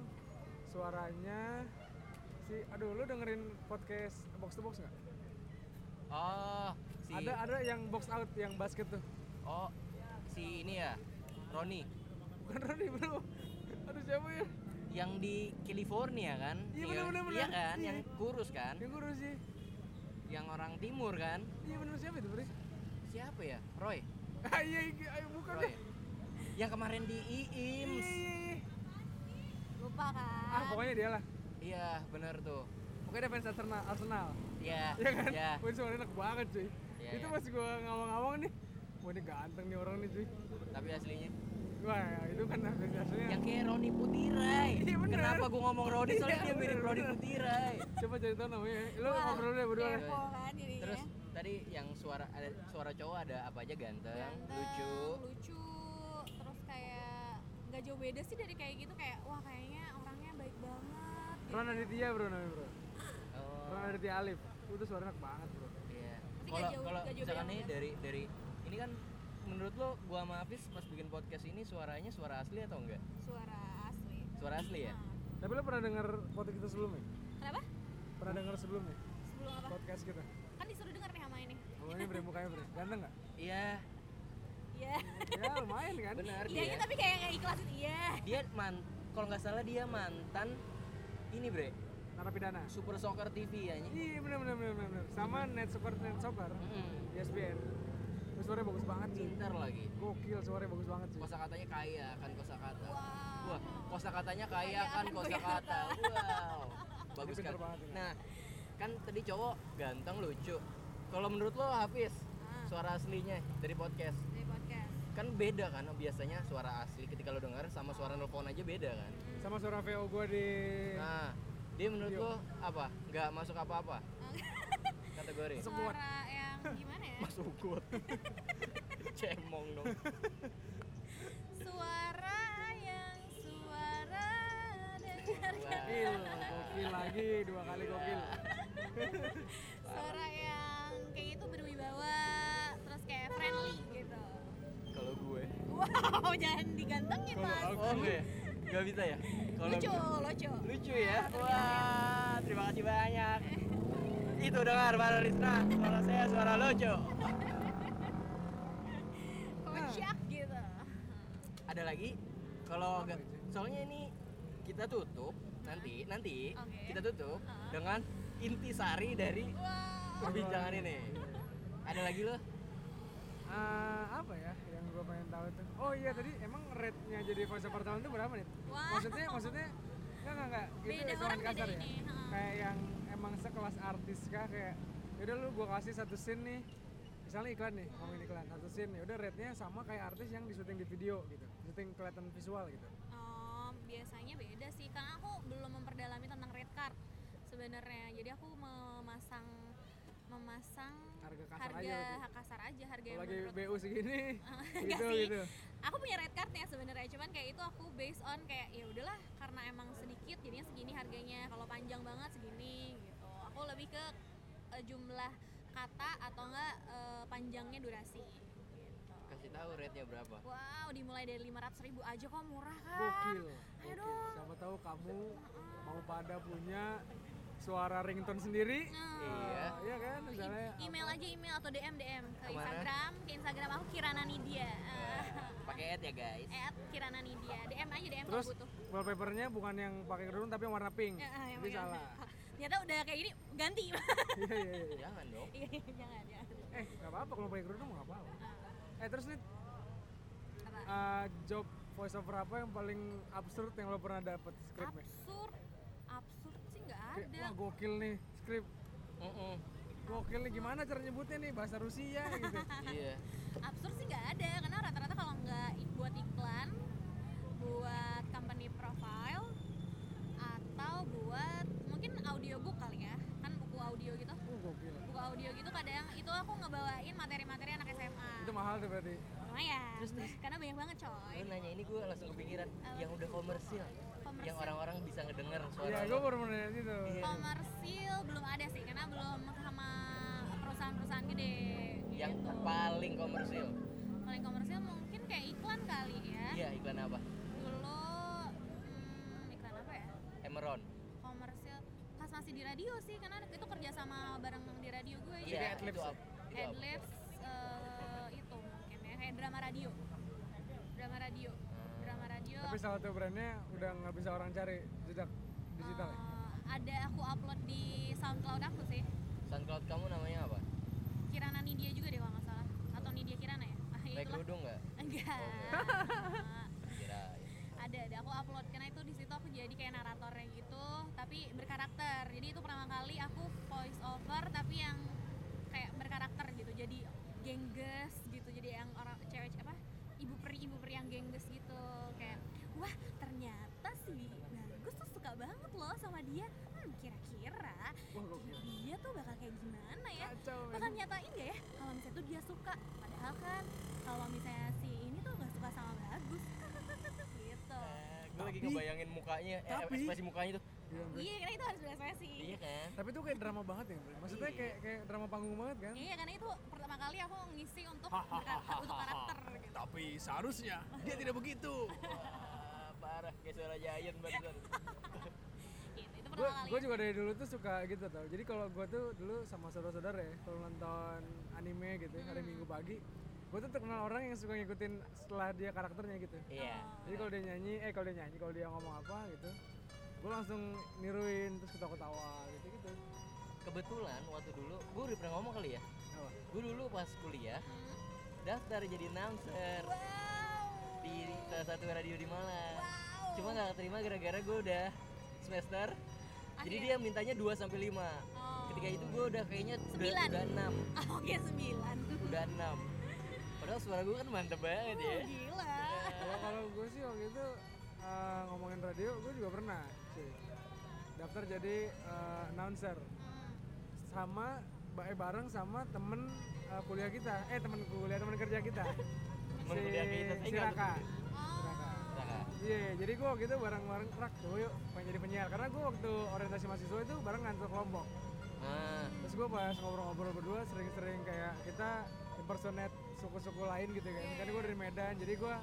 B: suaranya si aduh lu dengerin podcast box to box nggak?
A: oh si
B: Ada ada yang box out yang basket tuh.
A: oh si ini ya Roni
B: Bukan Roni bro. Aduh siapa ya?
A: yang di California kan
B: Iya,
A: Yang-
B: bener, bener, bener.
A: iya kan
B: Iya.
A: yang kurus kan
B: Yang kurus sih.
A: yang orang timur kan
B: Iya bener siapa itu bro?
A: siapa ya Roy
B: Ah iya iya iya, bukan
A: Roy ya?
B: deh.
A: yang kemarin di
B: Iya
A: IIMS
B: iya iya.
C: lupa kan
B: Ah pokoknya dia lah.
A: iya bener tuh
B: Pokoknya dia fans Arsenal. Arsenal.
A: ya
B: Iya kan?
A: ya
B: Wih suaranya enak banget cuy.
A: Iya,
B: itu
A: iya.
B: pas gua ngawang-ngawang nih. Wah ini ganteng nih orang nih cuy.
A: tapi aslinya
B: Wah ya, itu kan biasanya.
A: yang kayak Roni Putirai
B: Iya, bener.
A: kenapa gua ngomong Roni soalnya
B: Iya,
A: dia mirip
B: bener,
A: Roni
B: bener.
A: Putirai
B: Coba cari tau namanya. ya. Lu
C: Wah,
B: ngobrol deh berdua. deh.
C: kepo kan jadinya.
A: terus tadi yang suara ada suara cowok ada apa aja ganteng,
C: Ganteng,
A: lucu
C: lucu terus kayak nggak jauh beda sih dari kayak gitu kayak wah kayaknya orangnya baik banget gitu.
B: Ron Aditya bro namanya bro.
A: Oh,
B: Ron Aditya Alif. Uh, Itu suara enak banget bro.
A: iya.
C: Tapi
A: kalau
C: nggak jauh-
A: kalau
C: nggak jauh
A: misalkan
C: beda
A: nih
C: banget.
A: dari dari ini kan menurut lo gua sama Hafiz pas bikin podcast ini suaranya suara asli atau enggak
C: suara asli
A: suara asli ya
C: Nah,
B: Tapi lu pernah denger podcast kita sebelumnya?
C: kenapa
B: Pernah denger sebelumnya?
C: sebelum apa
B: Podcast kita.
C: kan disuruh denger nih sama ini
B: Namanya bre mukanya bre. Ganteng nggak?
A: iya
C: iya
B: Ya lumayan kan.
A: benar
C: iya ini
A: dia
C: tapi kayak nggak ikhlasin iya
A: dia man kalau nggak salah dia mantan ini bre
B: Narapidana.
A: Super Soccer TV ya ini
B: Iya bener bener bener bener. Sama net soccer net soccer. di ESPN. Terus suaranya bagus banget cuy.
A: pintar lagi
B: Gokil suaranya bagus banget cuy.
A: kosa katanya kaya kan kosa kata
C: wow
A: Wah, kosa katanya kaya kan kosa kata. Wow. Bagus
B: Pinter
A: kan.
B: banget ini.
A: Nah, kan tadi cowok ganteng lucu. Kalau menurut lo Hafiz,
C: Ah,
A: suara aslinya dari podcast
C: dari podcast
A: kan beda kan biasanya suara asli ketika lo dengar sama suara nelfon aja beda kan
B: sama suara VO gue di
A: nah dia menurut
B: Iya.
A: lo apa nggak masuk apa-apa kategori
C: suara yang gimana ya
A: masuk ukut cemong dong
C: suara yang suara dengarkan
A: Wah.
B: gokil gokil lagi dua kali gokil
C: suara yang kayak itu berwibawa terus kayak friendly gitu
A: kalau gue
C: wow jangan digantengin mas
A: oh gue nggak bisa ya kalau
C: lucu
A: gue-
C: lucu
A: lucu ya wah terima kasih banyak itu dengar para Rizna suara saya suara lucu
C: kocak
B: Ah.
C: gitu
A: ada lagi kalau nggak- soalnya ini kita tutup nanti nanti
C: Oke.
A: kita tutup
C: Ah.
A: dengan intisari dari
C: wow
A: perbincangan ini ada lagi loh
B: Ah, apa ya yang gue pengen tahu itu oh iya tadi emang rate-nya jadi voiceover tahun itu berapa nih
C: Wah.
B: maksudnya maksudnya enggak enggak enggak itu
C: Beda
B: hitungan
C: orang beda
B: kasar ya
C: ini, ha.
B: kayak yang emang sekelas artis kah kayak yaudah lu gue kasih satu scene nih misalnya iklan nih ngomongin iklan satu scene yaudah rate-nya sama kayak artis yang di syuting di video gitu syuting kelihatan visual gitu
C: Em, biasanya beda sih karena aku belum memperdalami tentang red card sebenarnya jadi aku memasang memasang
B: harga kasar
C: harga
B: aja gitu.
C: ha- kasar aja harga
B: kalau
C: yang
B: lagi
C: menurut
B: BU segini
C: Enggak
B: gitu
C: sih.
B: gitu
C: aku punya red card ya sebenarnya cuman kayak itu aku based on kayak ya udahlah karena emang sedikit jadinya segini harganya kalau panjang banget segini gitu aku lebih ke eh, jumlah kata atau enggak eh, panjangnya durasi gitu.
A: kasih tahu rate nya berapa
C: wow dimulai dari 500.000 ribu aja kok murah kan
B: gokil
C: Ayo
B: gokil
C: dong.
B: siapa tahu kamu mau pada punya suara ringtone sendiri
C: Nah,
A: iya
B: Ah, iya kan
C: I-
B: misalnya
C: email
B: apa-
C: aja email atau DM DM ke
A: Kemana?
C: Instagram ke Instagram aku Kirana Nidia Eh,
A: pakai ad ya guys
C: at Kirana Nidia DM aja DM
B: Terus?
C: kalau butuh
B: wallpapernya bukan yang pakai kerudung tapi yang warna pink
C: Ya, ah, yang
B: itu
C: pakai-
B: salah
C: ternyata udah kayak gini ganti
B: iya iya iya
A: jangan dong
C: Iya, jangan jangan
B: eh nggak apa-apa kalau pakai kerudung nggak apa-apa eh terus nih
C: Ah. Apa?
B: eh, job voiceover apa yang paling absurd yang lo pernah dapet skripnya
C: absurd absurd sih nggak
B: Kayak,
C: ada
B: wah gokil nih skrip
A: Mm-mm.
B: gokil nih gimana cara nyebutnya nih bahasa Rusia gitu
A: iya
C: absurd sih nggak ada karena rata-rata kalau nggak ik- buat iklan buat company profile atau buat mungkin audiobook kali ya kan buku audio gitu
B: oh gokil
C: buku audio gitu kadang itu aku ngebawain materi-materi anak SMA
B: itu mahal tuh berarti
C: lumayan
A: Terus, terus.
C: karena banyak banget coy
A: lu nanya ini gue langsung kepikiran
C: Apa?
A: yang udah komersil yang
C: komersil
A: orang-orang bisa ngedenger
B: Iya,
A: suara
B: gue
A: lo.
B: baru mau nanya gitu.
A: Iya.
C: komersil belum ada sih karena belum sama perusahaan-perusahaan gede
A: yang
C: gitu.
A: paling komersil
C: paling komersil mungkin kayak iklan kali ya
A: iya iklan apa
C: dulu hmm, iklan apa ya
A: Emeron
C: komersil pas masih di radio sih karena itu kerja sama bareng di radio gue
A: iya itu
B: Jadi adlibs ya?
A: apa itu apa?
C: Adlibs eh, itu mungkin ya kayak drama radio drama radio
A: Nah,
C: drama radio
B: Tapi salah satu brandnya udah nggak bisa orang cari jejak digital. ya?
C: eh, ada aku upload di SoundCloud aku sih
A: SoundCloud kamu namanya apa
C: Kirana Nidia juga deh kalau nggak salah atau Nidia Kirana ya ah ya
A: pakai
C: itulah
A: kerudung nggak
C: enggak
A: Oh, iya.
C: Eh,
A: kira
C: ada ada aku upload karena itu di situ aku jadi kayak naratornya gitu tapi berkarakter jadi itu pertama kali aku voice over tapi yang kayak berkarakter gitu jadi gengges gitu jadi yang orang cewek apa ibu peri ibu peri yang gengges gitu kayak wah ternyata si bagus tuh suka banget loh sama dia hmm kira-kira
B: Wah, gokil.
C: dia tuh bakal kayak gimana ya
B: Kacau.
C: bakal nyatain gak ya kalau misalnya tuh dia suka padahal kan kalau misalnya si ini tuh nggak suka sama bagus gitu
A: gue Eh, lagi
B: Tapi-
A: ngebayangin mukanya eh,
B: tapi-
A: ekspresi mukanya tuh
B: Iya, Bre.
C: iya karena itu harus biasa sih
A: iya kan
B: Tapi itu kayak drama banget ya, Bre. Maksudnya
A: Iya.
B: kayak kayak drama panggung banget kan?
C: iya karena itu pertama kali aku ngisi untuk karakter untuk karakter gitu
B: Tapi seharusnya dia tidak begitu.
A: Wah, parah kayak suara giant barusan
C: Gitu, itu
B: gue
C: pertama kali
B: gue juga dari dulu tuh suka gitu tau jadi kalau gue tuh dulu sama saudara-saudara ya kalau nonton anime gitu ya, hari
C: Hmm.
B: minggu pagi gue tuh terkenal orang yang suka ngikutin setelah dia karakternya gitu
A: iya
B: jadi kalau dia nyanyi eh kalau dia nyanyi kalau dia ngomong apa gitu gue langsung niruin terus ketawa-ketawa gitu gitu
A: kebetulan waktu dulu gue udah pernah ngomong kali ya
B: Apa?
A: gue dulu pas kuliah
C: Hmm.
A: daftar jadi announcer
C: wow
A: di salah satu radio di Malang
C: wow
A: cuma nggak keterima gara-gara gue udah semester jadi dia mintanya 2 sampai 5
C: oh,
A: ketika itu gue udah kayaknya udah,
C: Sembilan.
A: udah 6
C: oke sembilan
A: udah 6 padahal Padahal suara gue kan mantep banget ya.
C: Uh, gila.
B: kalau kalau gue sih waktu itu eh, ngomongin radio gue juga pernah sih daftar jadi eh, announcer sama ba- eh, bareng sama temen eh, kuliah kita eh temen kuliah temen kerja kita
A: Temen kuliah kita, Eh, saya
B: si
A: nggak-
B: Raka
C: Oh,
B: Raka.
A: Nah,
B: Iya, jadi gue waktu itu bareng-bareng kerak tuh yuk pengen jadi penyiar Karena gue waktu orientasi mahasiswa itu barengan satu kelompok
A: nah,
B: Terus gue pas ngobrol-ngobrol berdua sering-sering kayak kita impersonate suku-suku lain gitu kan Kan gue dari Medan, jadi gue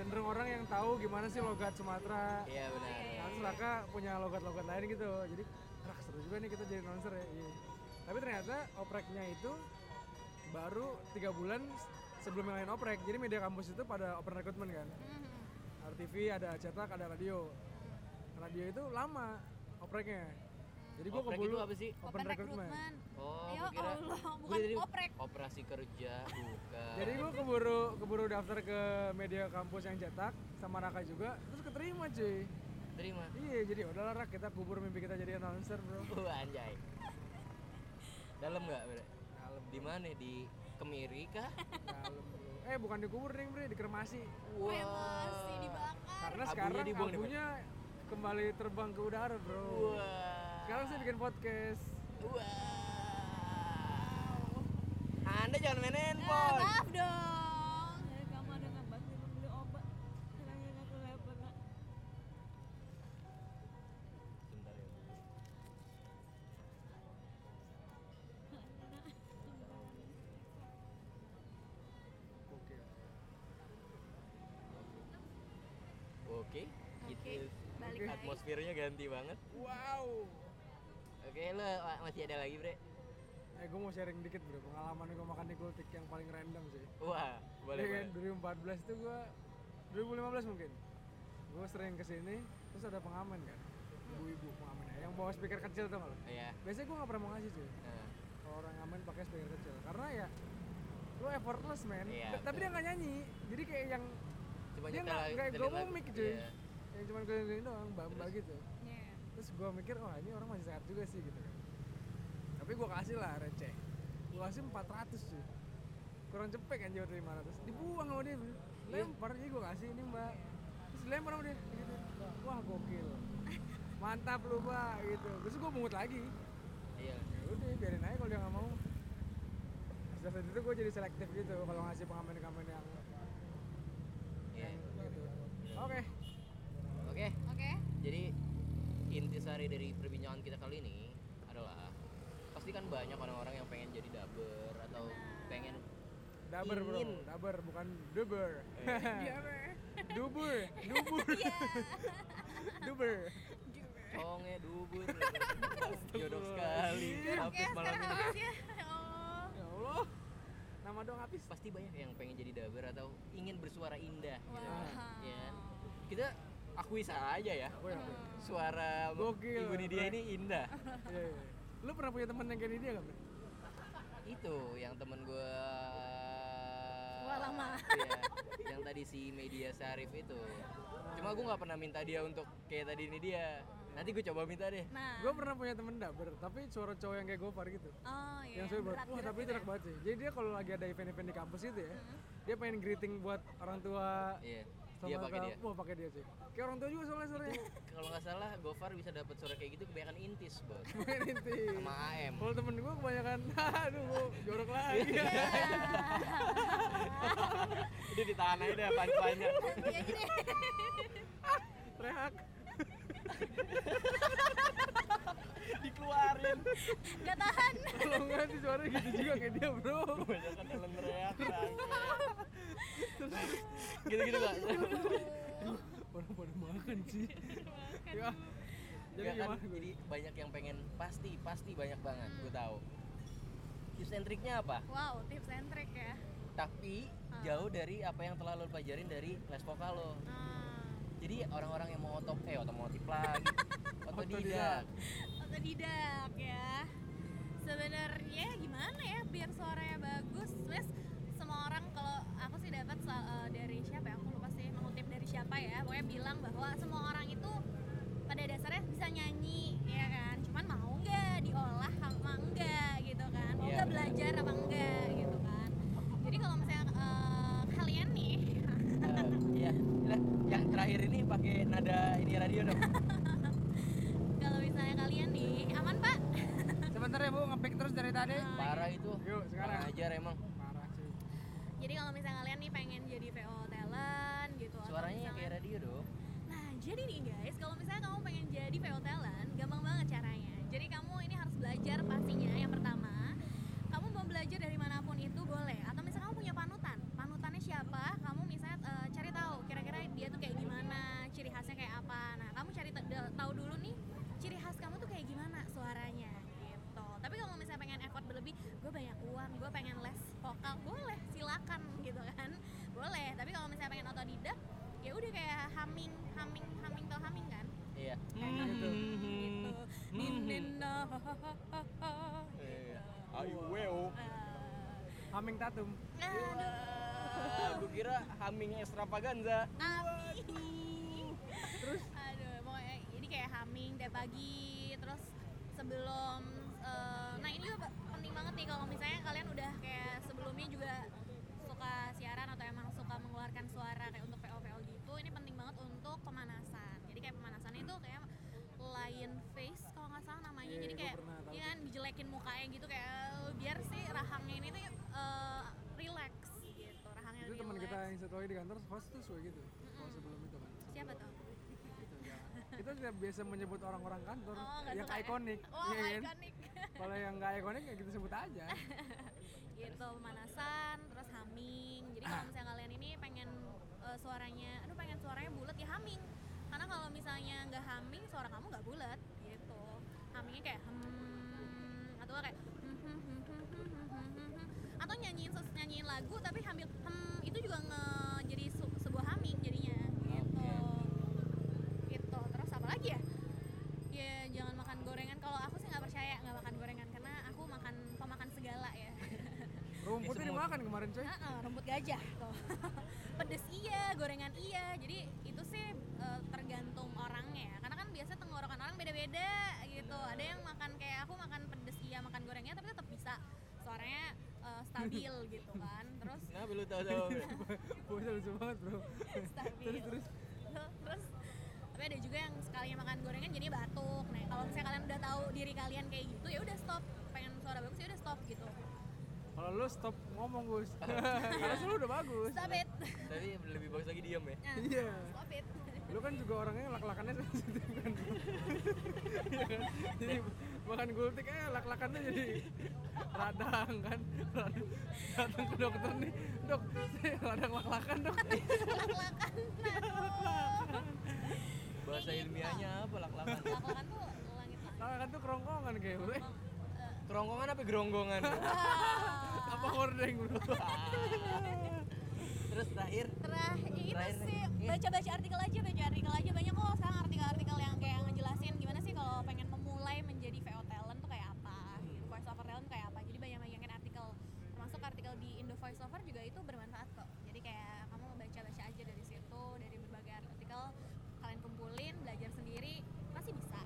B: cenderung orang yang tahu gimana sih logat Sumatera
A: iya benar.
B: Nah, terus Raka punya logat-logat lain gitu Jadi kerak seru juga nih kita jadi announcer ya iya. Tapi ternyata opreknya itu baru tiga bulan sebelum yang lain oprek Jadi media kampus itu pada open recruitment kan
A: nah.
C: mhm.
B: RTV ada cetak ada radio Nah, radio itu lama opreknya jadi gue
A: Oprek
B: kebulu
A: itu apa sih?
C: Open recruitment.
A: Oh,
C: Ya
A: gue kira
C: Allah,
A: gue
C: bukan
A: jadi-
C: oprek.
A: operasi kerja, bukan.
B: jadi gue keburu keburu daftar ke media kampus yang cetak sama Raka juga terus keterima cuy
A: terima.
B: iya jadi udahlah Rak kita kubur mimpi kita jadi announcer bro
A: Wah, anjay. Dalam nggak? Bre?
B: dalam
A: Di mana? Di Kemiri kah?
B: dalam bro eh bukan dikubur nih bro dikremasi
A: Wah.
C: masih dibakar.
B: karena
A: Abunya
B: sekarang
A: dibuang iya, nih, Bro.
B: abunya kembali terbang ke udara bro
A: Wah.
B: sekarang saya bikin podcast
A: Wah. Anda jangan main
C: Ah,
A: handphone.
C: maaf dong.
E: Eh, kamu ada nggak minum beli obat karena nggak kelihatan
A: Bentar ya.
B: oke
A: Oke.
C: Oke,
A: Gitu.
C: balik
B: Oke.
C: lagi.
A: Atmosfernya ganti banget.
B: wow
A: Oke, lo wa- masih ada lagi, Bre?
B: eh gue mau sharing dikit bro pengalaman gue makan di Gultik yang paling random sih
A: Wah, boleh,
B: Iya
A: boleh.
B: kan, 2014 tuh gua 2015 mungkin. Gua sering kesini, terus ada pengamen kan. Ibu-ibu pengamen ya, yang bawa speaker kecil tuh malah.
A: Iya.
B: Biasanya gua nggak pernah mau ngasih cuy.
A: Nah,
B: Kalau orang ngamen pakai speaker kecil, karena ya lu effortless man.
A: Iya,
B: Ta- Tapi
A: betul.
B: dia nggak nyanyi, jadi kayak yang
A: Coba
B: dia
A: nyetel
B: nggak
A: lagi-
B: nggak
A: nyetelin
B: ngomong
A: lagu.
B: mic cuy.
A: Iya.
B: Yang cuma keliling doang, bamba
A: Terus?
B: gitu.
C: Iya.
B: Terus gua mikir, oh ini orang masih sehat juga sih gitu kan. Tapi gua kasih lah receh. Gua kasih 400 cuy. Kurang cepet kan jauh dari 500. Dibuang sama dia.
A: Iya.
B: Bro. Lempar jadi gua kasih ini, Mbak. Terus dilempar sama dia. Gitu. Wah, gokil. Mantap lu, Mbak gitu. Terus gua mungut lagi.
A: Iya.
B: Ya udah, biarin aja kalau dia nggak mau. Sejak saat itu gua jadi selektif gitu kalau ngasih pengamen-pengamen yang
A: Iya.
B: gitu. Oke.
A: Oke.
C: Oke.
A: Jadi intisari dari perbincangan kita kali ini adalah pasti kan banyak orang-orang yang pengen jadi daber atau pengen
B: Daber, Bro.
A: Ingin.
B: Daber bukan duber.
A: Nah.
C: Iya, Ber.
B: Dubur, dubur.
C: Iya.
B: Duber.
A: conge dubur jodoh sekali
C: Oke,
A: habis malam
C: sekarang
A: ini
C: habis ya. Ya Allah.
B: Ya Allah. Nama dong habis.
A: pasti banyak yang pengen jadi daber atau ingin bersuara indah gitu.
C: Wow.
A: Iya. kita akui saja ya
B: Aku ya. aku.
A: suara
B: Gokil,
A: ibu Nidia
B: Bro.
A: ini indah
B: Iya, iya. Lu pernah punya temen yang kayak dia enggak,
C: Ah.
B: Bro?
A: itu yang temen gue
C: Wah, lama.
A: Iya, yang tadi si media Sarif itu cuma gue nggak pernah minta dia untuk kayak tadi ini dia nanti gue coba minta deh
C: Nah.
B: Gue pernah punya temen daber, tapi suara cowok yang kayak Gopar gitu.
C: Oh, iya.
B: yang suara buat,
C: berat,
B: wah
C: berat,
B: tapi itu
C: berat.
B: enak banget sih. Jadi dia kalau lagi ada event-event di kampus itu ya, dia pengen greeting buat orang tua
A: iya
B: sama
A: dia pakai
B: sama-
A: dia
B: Wah pakai dia sih. Kayak orang tua juga soalnya ya. suaranya.
A: kalau nggak salah Gofar bisa dapat suara kayak gitu kebanyakan intis bos
B: Main inti.
A: sama AM
B: Kalau temen gue kebanyakan, aduh gua jorok lagi.
A: Iya. udah ditahan aja deh panjangnya
C: Iya, jadi
B: Rehak.
A: dikeluarin
C: nggak tahan.
B: Kalau enggak sih suaranya gitu juga kayak dia bro.
A: kebanyakan dalam reak gitu gitu gak
B: Orang pada makan sih. Ya. Jadi
A: jadi,
B: gimana? gua?
A: kan jadi banyak yang pengen pasti pasti banyak banget gue tahu tips and triknya apa
C: Wow, tips and trick ya.
A: tapi
C: Ah.
A: jauh dari apa yang telah lo pelajarin dari les vokal lo
C: Ah,
A: jadi orang-orang yang mau otot eh otomotif lagi otodidak
C: otodidak ya. Sebenarnya gimana ya biar suaranya bagus? Sebenarnya semua orang kalau aku sih dapat sa- eh, dari siapa ya? Aku lupa sih mengutip dari siapa ya. Pokoknya bilang bahwa semua orang itu pada dasarnya bisa nyanyi ya kan. Cuman mau nggak diolah apa enggak gitu kan. Mau
A: Iya,
C: nggak
A: benar.
C: belajar apa enggak gitu kan. Jadi kalau misalnya eh,
A: Eh, iya. ada ini radio dong.
C: Kalau misalnya kalian nih, aman pak? Nah,
F: Sebentar ya bu, ngepick terus dari tadi.
A: Parah itu.
B: Yuk sekarang.
A: Kurang ajar emang.
B: Parah sih.
C: Jadi kalau misalnya kalian nih pengen jadi VO talent gitu atau
A: Suaranya
C: misalnya-
A: kayak radio dong.
C: Nah, jadi nih guys, kalau misalnya kamu pengen jadi VO talent, gampang banget caranya. Jadi kamu ini harus belajar pastinya yang pertama, kamu mau belajar dari manapun itu boleh atau misalnya kamu punya panutan. Panutannya siapa? Kamu misalnya eh, cari tahu kira-kira dia tuh kayak gimana, ciri khasnya kayak apa. Nah, kamu cari te- de- tahu dulu nih ciri khas kamu tuh kayak gimana suaranya gitu. Tapi kalau misalnya pengen effort berlebih, gue banyak uang, gue pengen les vokal, boleh silakan gitu kan. Boleh, tapi kalau misalnya pengen otodidak, ya udah kayak humming humming humming tau humming kan
A: Iya.
C: Kayak gitu. gitu nah, Nindina,
A: Eh, Ayo weo.
C: eh,
B: Haming Tatum.
C: Nah, aduh nah.
A: Gue Ah, kira humming extravaganza.
C: amin terus aduh pokoknya ini kayak humming deh pagi terus sebelum eh, nah ini juga penting banget nih kalau misalnya kalian udah kayak sebelumnya juga suka siaran atau emang suka mengeluarkan suara kayak untuk PO PO gitu ini penting banget untuk pemanasan jadi kayak pemanasan itu kayak lion face kalau nggak salah namanya
B: Iya,
C: jadi
B: gua
C: kayak
B: pernah tahu.
C: ya kan dijelekin mukanya gitu kayak eh, biar si rahangnya ini tuh eh, relax gitu rahangnya
B: Itu teman kita
C: relax.
B: yang satu lagi di kantor host tuh suka gitu.
C: Hmm.
B: Kalau sebelum itu kan.
C: siapa tuh
B: Gitu, ya. Kita sudah biasa menyebut orang-orang kantor
C: Oh, nggak
B: yang
C: suka ya?
B: ikonik.
C: Oh,
B: iya kan?
C: ikonik.
B: Kalau yang nggak ikonik ya kita sebut aja.
C: Gitu, pemanasan, terus humming. Jadi kalau misalnya kalian ini pengen eh, suaranya, aduh pengen suaranya bulat ya humming. Karena kalau misalnya nggak humming, suara kamu nggak bulat gitu. Hummingnya kayak hmm, atau nggak kayak hmm, atau nyanyiin ses- nyanyiin lagu tapi hamil hmm itu juga nge jadi su- sebuah humming jadinya gitu. Gitu. Terus apa lagi ya? Ya jangan makan gorengan. Kalau aku sih nggak percaya nggak makan gorengan karena aku makan pemakan segala ya.
B: Rumputnya
A: semut.
B: dimakan kemarin coy.
C: Heeh, rumput gajah tuh. Pedes iya, gorengan iya. Jadi itu sih eh, tergantung orangnya ya. Karena kan biasa tenggorokan orang beda-beda gitu. Ada yang makan kayak aku makan pedes iya, makan gorengnya tapi tetap bisa suaranya eh, stabil gitu kan. Terus
A: Nah, belum tahu tahu.
B: Bocah lucu banget bro.
C: stabil.
B: Terus terus.
C: terus tapi ada juga yang sekalinya makan gorengan jadi batuk nah kalau misalnya kalian udah tahu diri kalian kayak gitu ya udah stop pengen suara bagus ya udah stop gitu
B: Kalau lu stop ngomong Gus. Karena lu udah bagus.
C: stop it
A: Tapi lebih bagus lagi diam ya.
C: Nah,
B: Iya.
C: stop it
B: Lu kan juga orangnya lak-lakannya sensitif kan. Iya kan? Jadi makan gultik eh lak-lakannya jadi radang kan. Radang. Datang ke dokter nih. Dok, saya radang lak-lakan dok.
C: lak-lakan
A: Bahasa
C: Kayak gitu.
A: ilmiahnya apa lak-lakan?
C: aduh lak-lakan tuh langit lah
B: Lak-lakan tuh kerongkongan kayak bro.
A: Kerongkongan apa geronggongan?
B: Apa hordeng bro?
A: Terus terakhir
C: Terah, itu
A: Terakhir nih.
C: sih
A: Iya.
C: baca-baca artikel aja, baca artikel aja banyak kok sekarang artikel-artikel yang kayak ngejelasin gimana sih kalau pengen memulai menjadi VO talent tuh kayak apa, gitu. voice over talent kayak apa. Jadi banyak banyakkan artikel, termasuk artikel di Indo Voice Over juga itu bermanfaat kok. Jadi kayak kamu baca-baca aja dari situ, dari berbagai artikel kalian kumpulin, belajar sendiri pasti bisa.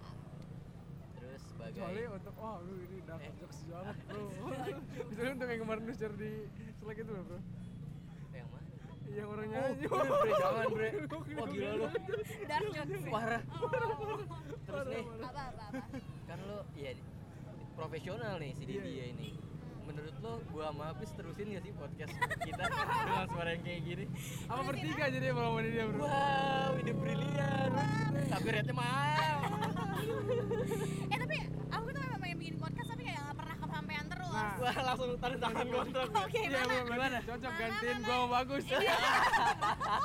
A: terus sebagai
B: Kecuali untuk, wah lu ini dark jokes banget bro Kecuali untuk yang kemarin lu share di Slack itu loh bro
A: yang mana?
B: Yang orangnya
A: Oh,
B: nyanyi
A: bre, bre, jangan bre. Wah gila lu.
C: Dark jokes. ya?
A: Parah.
C: Oh.
A: Terus nih,
C: apa apa apa.
A: kan lu ya profesional nih si
B: Iya,
A: Didi
B: iya.
A: ya ini. Menurut lo gua sama Hafiz terusin gak sih podcast kita dengan suara yang kayak gini?
B: Apa bertiga jadi ya kalau dia bro
A: Wow, ide brilian. Tapi rate mahal.
C: Eh tapi aku tuh memang pengen bikin podcast tapi kayak nggak pernah kesampaian terus.
B: Nah,
A: Wah, langsung tanda tangan kontrak.
C: Oke,
B: Iya,
C: mana?
B: bener, bener. Cocok
C: Mana,
B: gantiin
C: mana? Iya.
B: gua sama bagus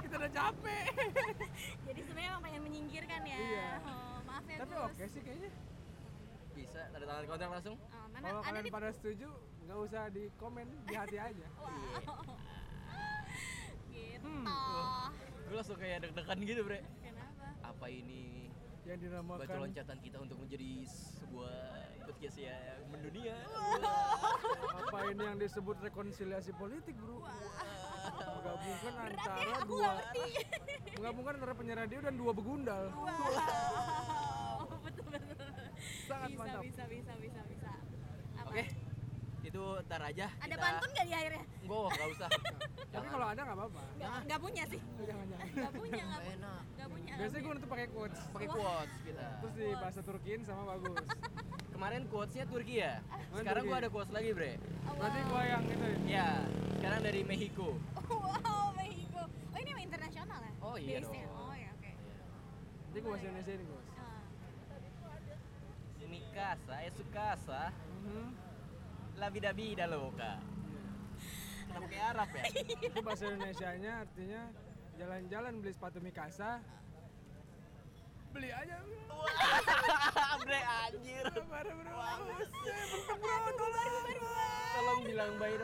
B: Kita udah capek
C: Jadi sebenarnya emang pengen menyingkirkan ya.
B: Iya.
C: Oh, maaf ya.
B: Tapi
C: Gus.
B: oke sih kayaknya
A: Bisa tanda tangan kontrak langsung.
C: Oh, mana
B: Kalau
C: ada
B: kalian
C: di
B: pada setuju, nggak usah di komen, di hati aja
C: Wow. gitu.
B: Hmm.
A: Gue langsung kayak deg-degan gitu, Bre.
C: Kenapa?
A: Apa ini
B: Yang dinamakan
A: batu loncatan kita untuk menjadi sebuah podcast yang mendunia?
B: Apa ini yang disebut rekonsiliasi politik bro Menggabungkan
C: Berat ya,
B: antara
C: aku
B: dua
C: nggak ngerti.
B: Menggabungkan antara penyiar radio dan dua begundal
C: Wow. betul betul.
B: Sangat
C: bisa,
B: mantap
C: bisa bisa bisa bisa. Apa?
A: Oke. Itu Eh, itu ntar aja
C: Ada
A: kita-
C: pantun nggak di akhirnya?
A: Nggak, nggak usah.
B: Tapi kalau ada nggak apa-apa.
C: Nggak
A: Jangan.
C: nggak punya sih.
B: Jangan jangan.
C: Iya, Nggak punya, nggak punya.
A: enak.
C: Nggak punya. nggak
B: Biasanya gue nutup pakai quotes.
A: Pakai quotes kita.
B: Terus di bahasa Turkiin sama bagus.
A: Kemarin quotesnya Turki ya.
B: Mana
A: Sekarang
B: Turki?
A: gua ada quotes lagi, Bre.
C: punya.
B: Berarti
C: Wow.
B: gue yang itu.
A: Ya, sekarang dari Mexico.
C: Wow, Mexico. Oh ini emang internasional ya?
A: Oh, iya
C: Base-nya.
A: dong.
C: Oh ya, oke.
B: Jadi gue bahasa Indonesia ini gue.
C: Ah.
A: Ini casa, es su casa,
B: Mhm.
A: la vida vida loca. Kenapa kayak Arab ya?
B: Itu bahasa Indonesianya artinya jalan-jalan beli sepatu Mikasa. Beli aja.
A: Wah, Bre anjir.
B: Baru-baru.
A: Tolong bilang by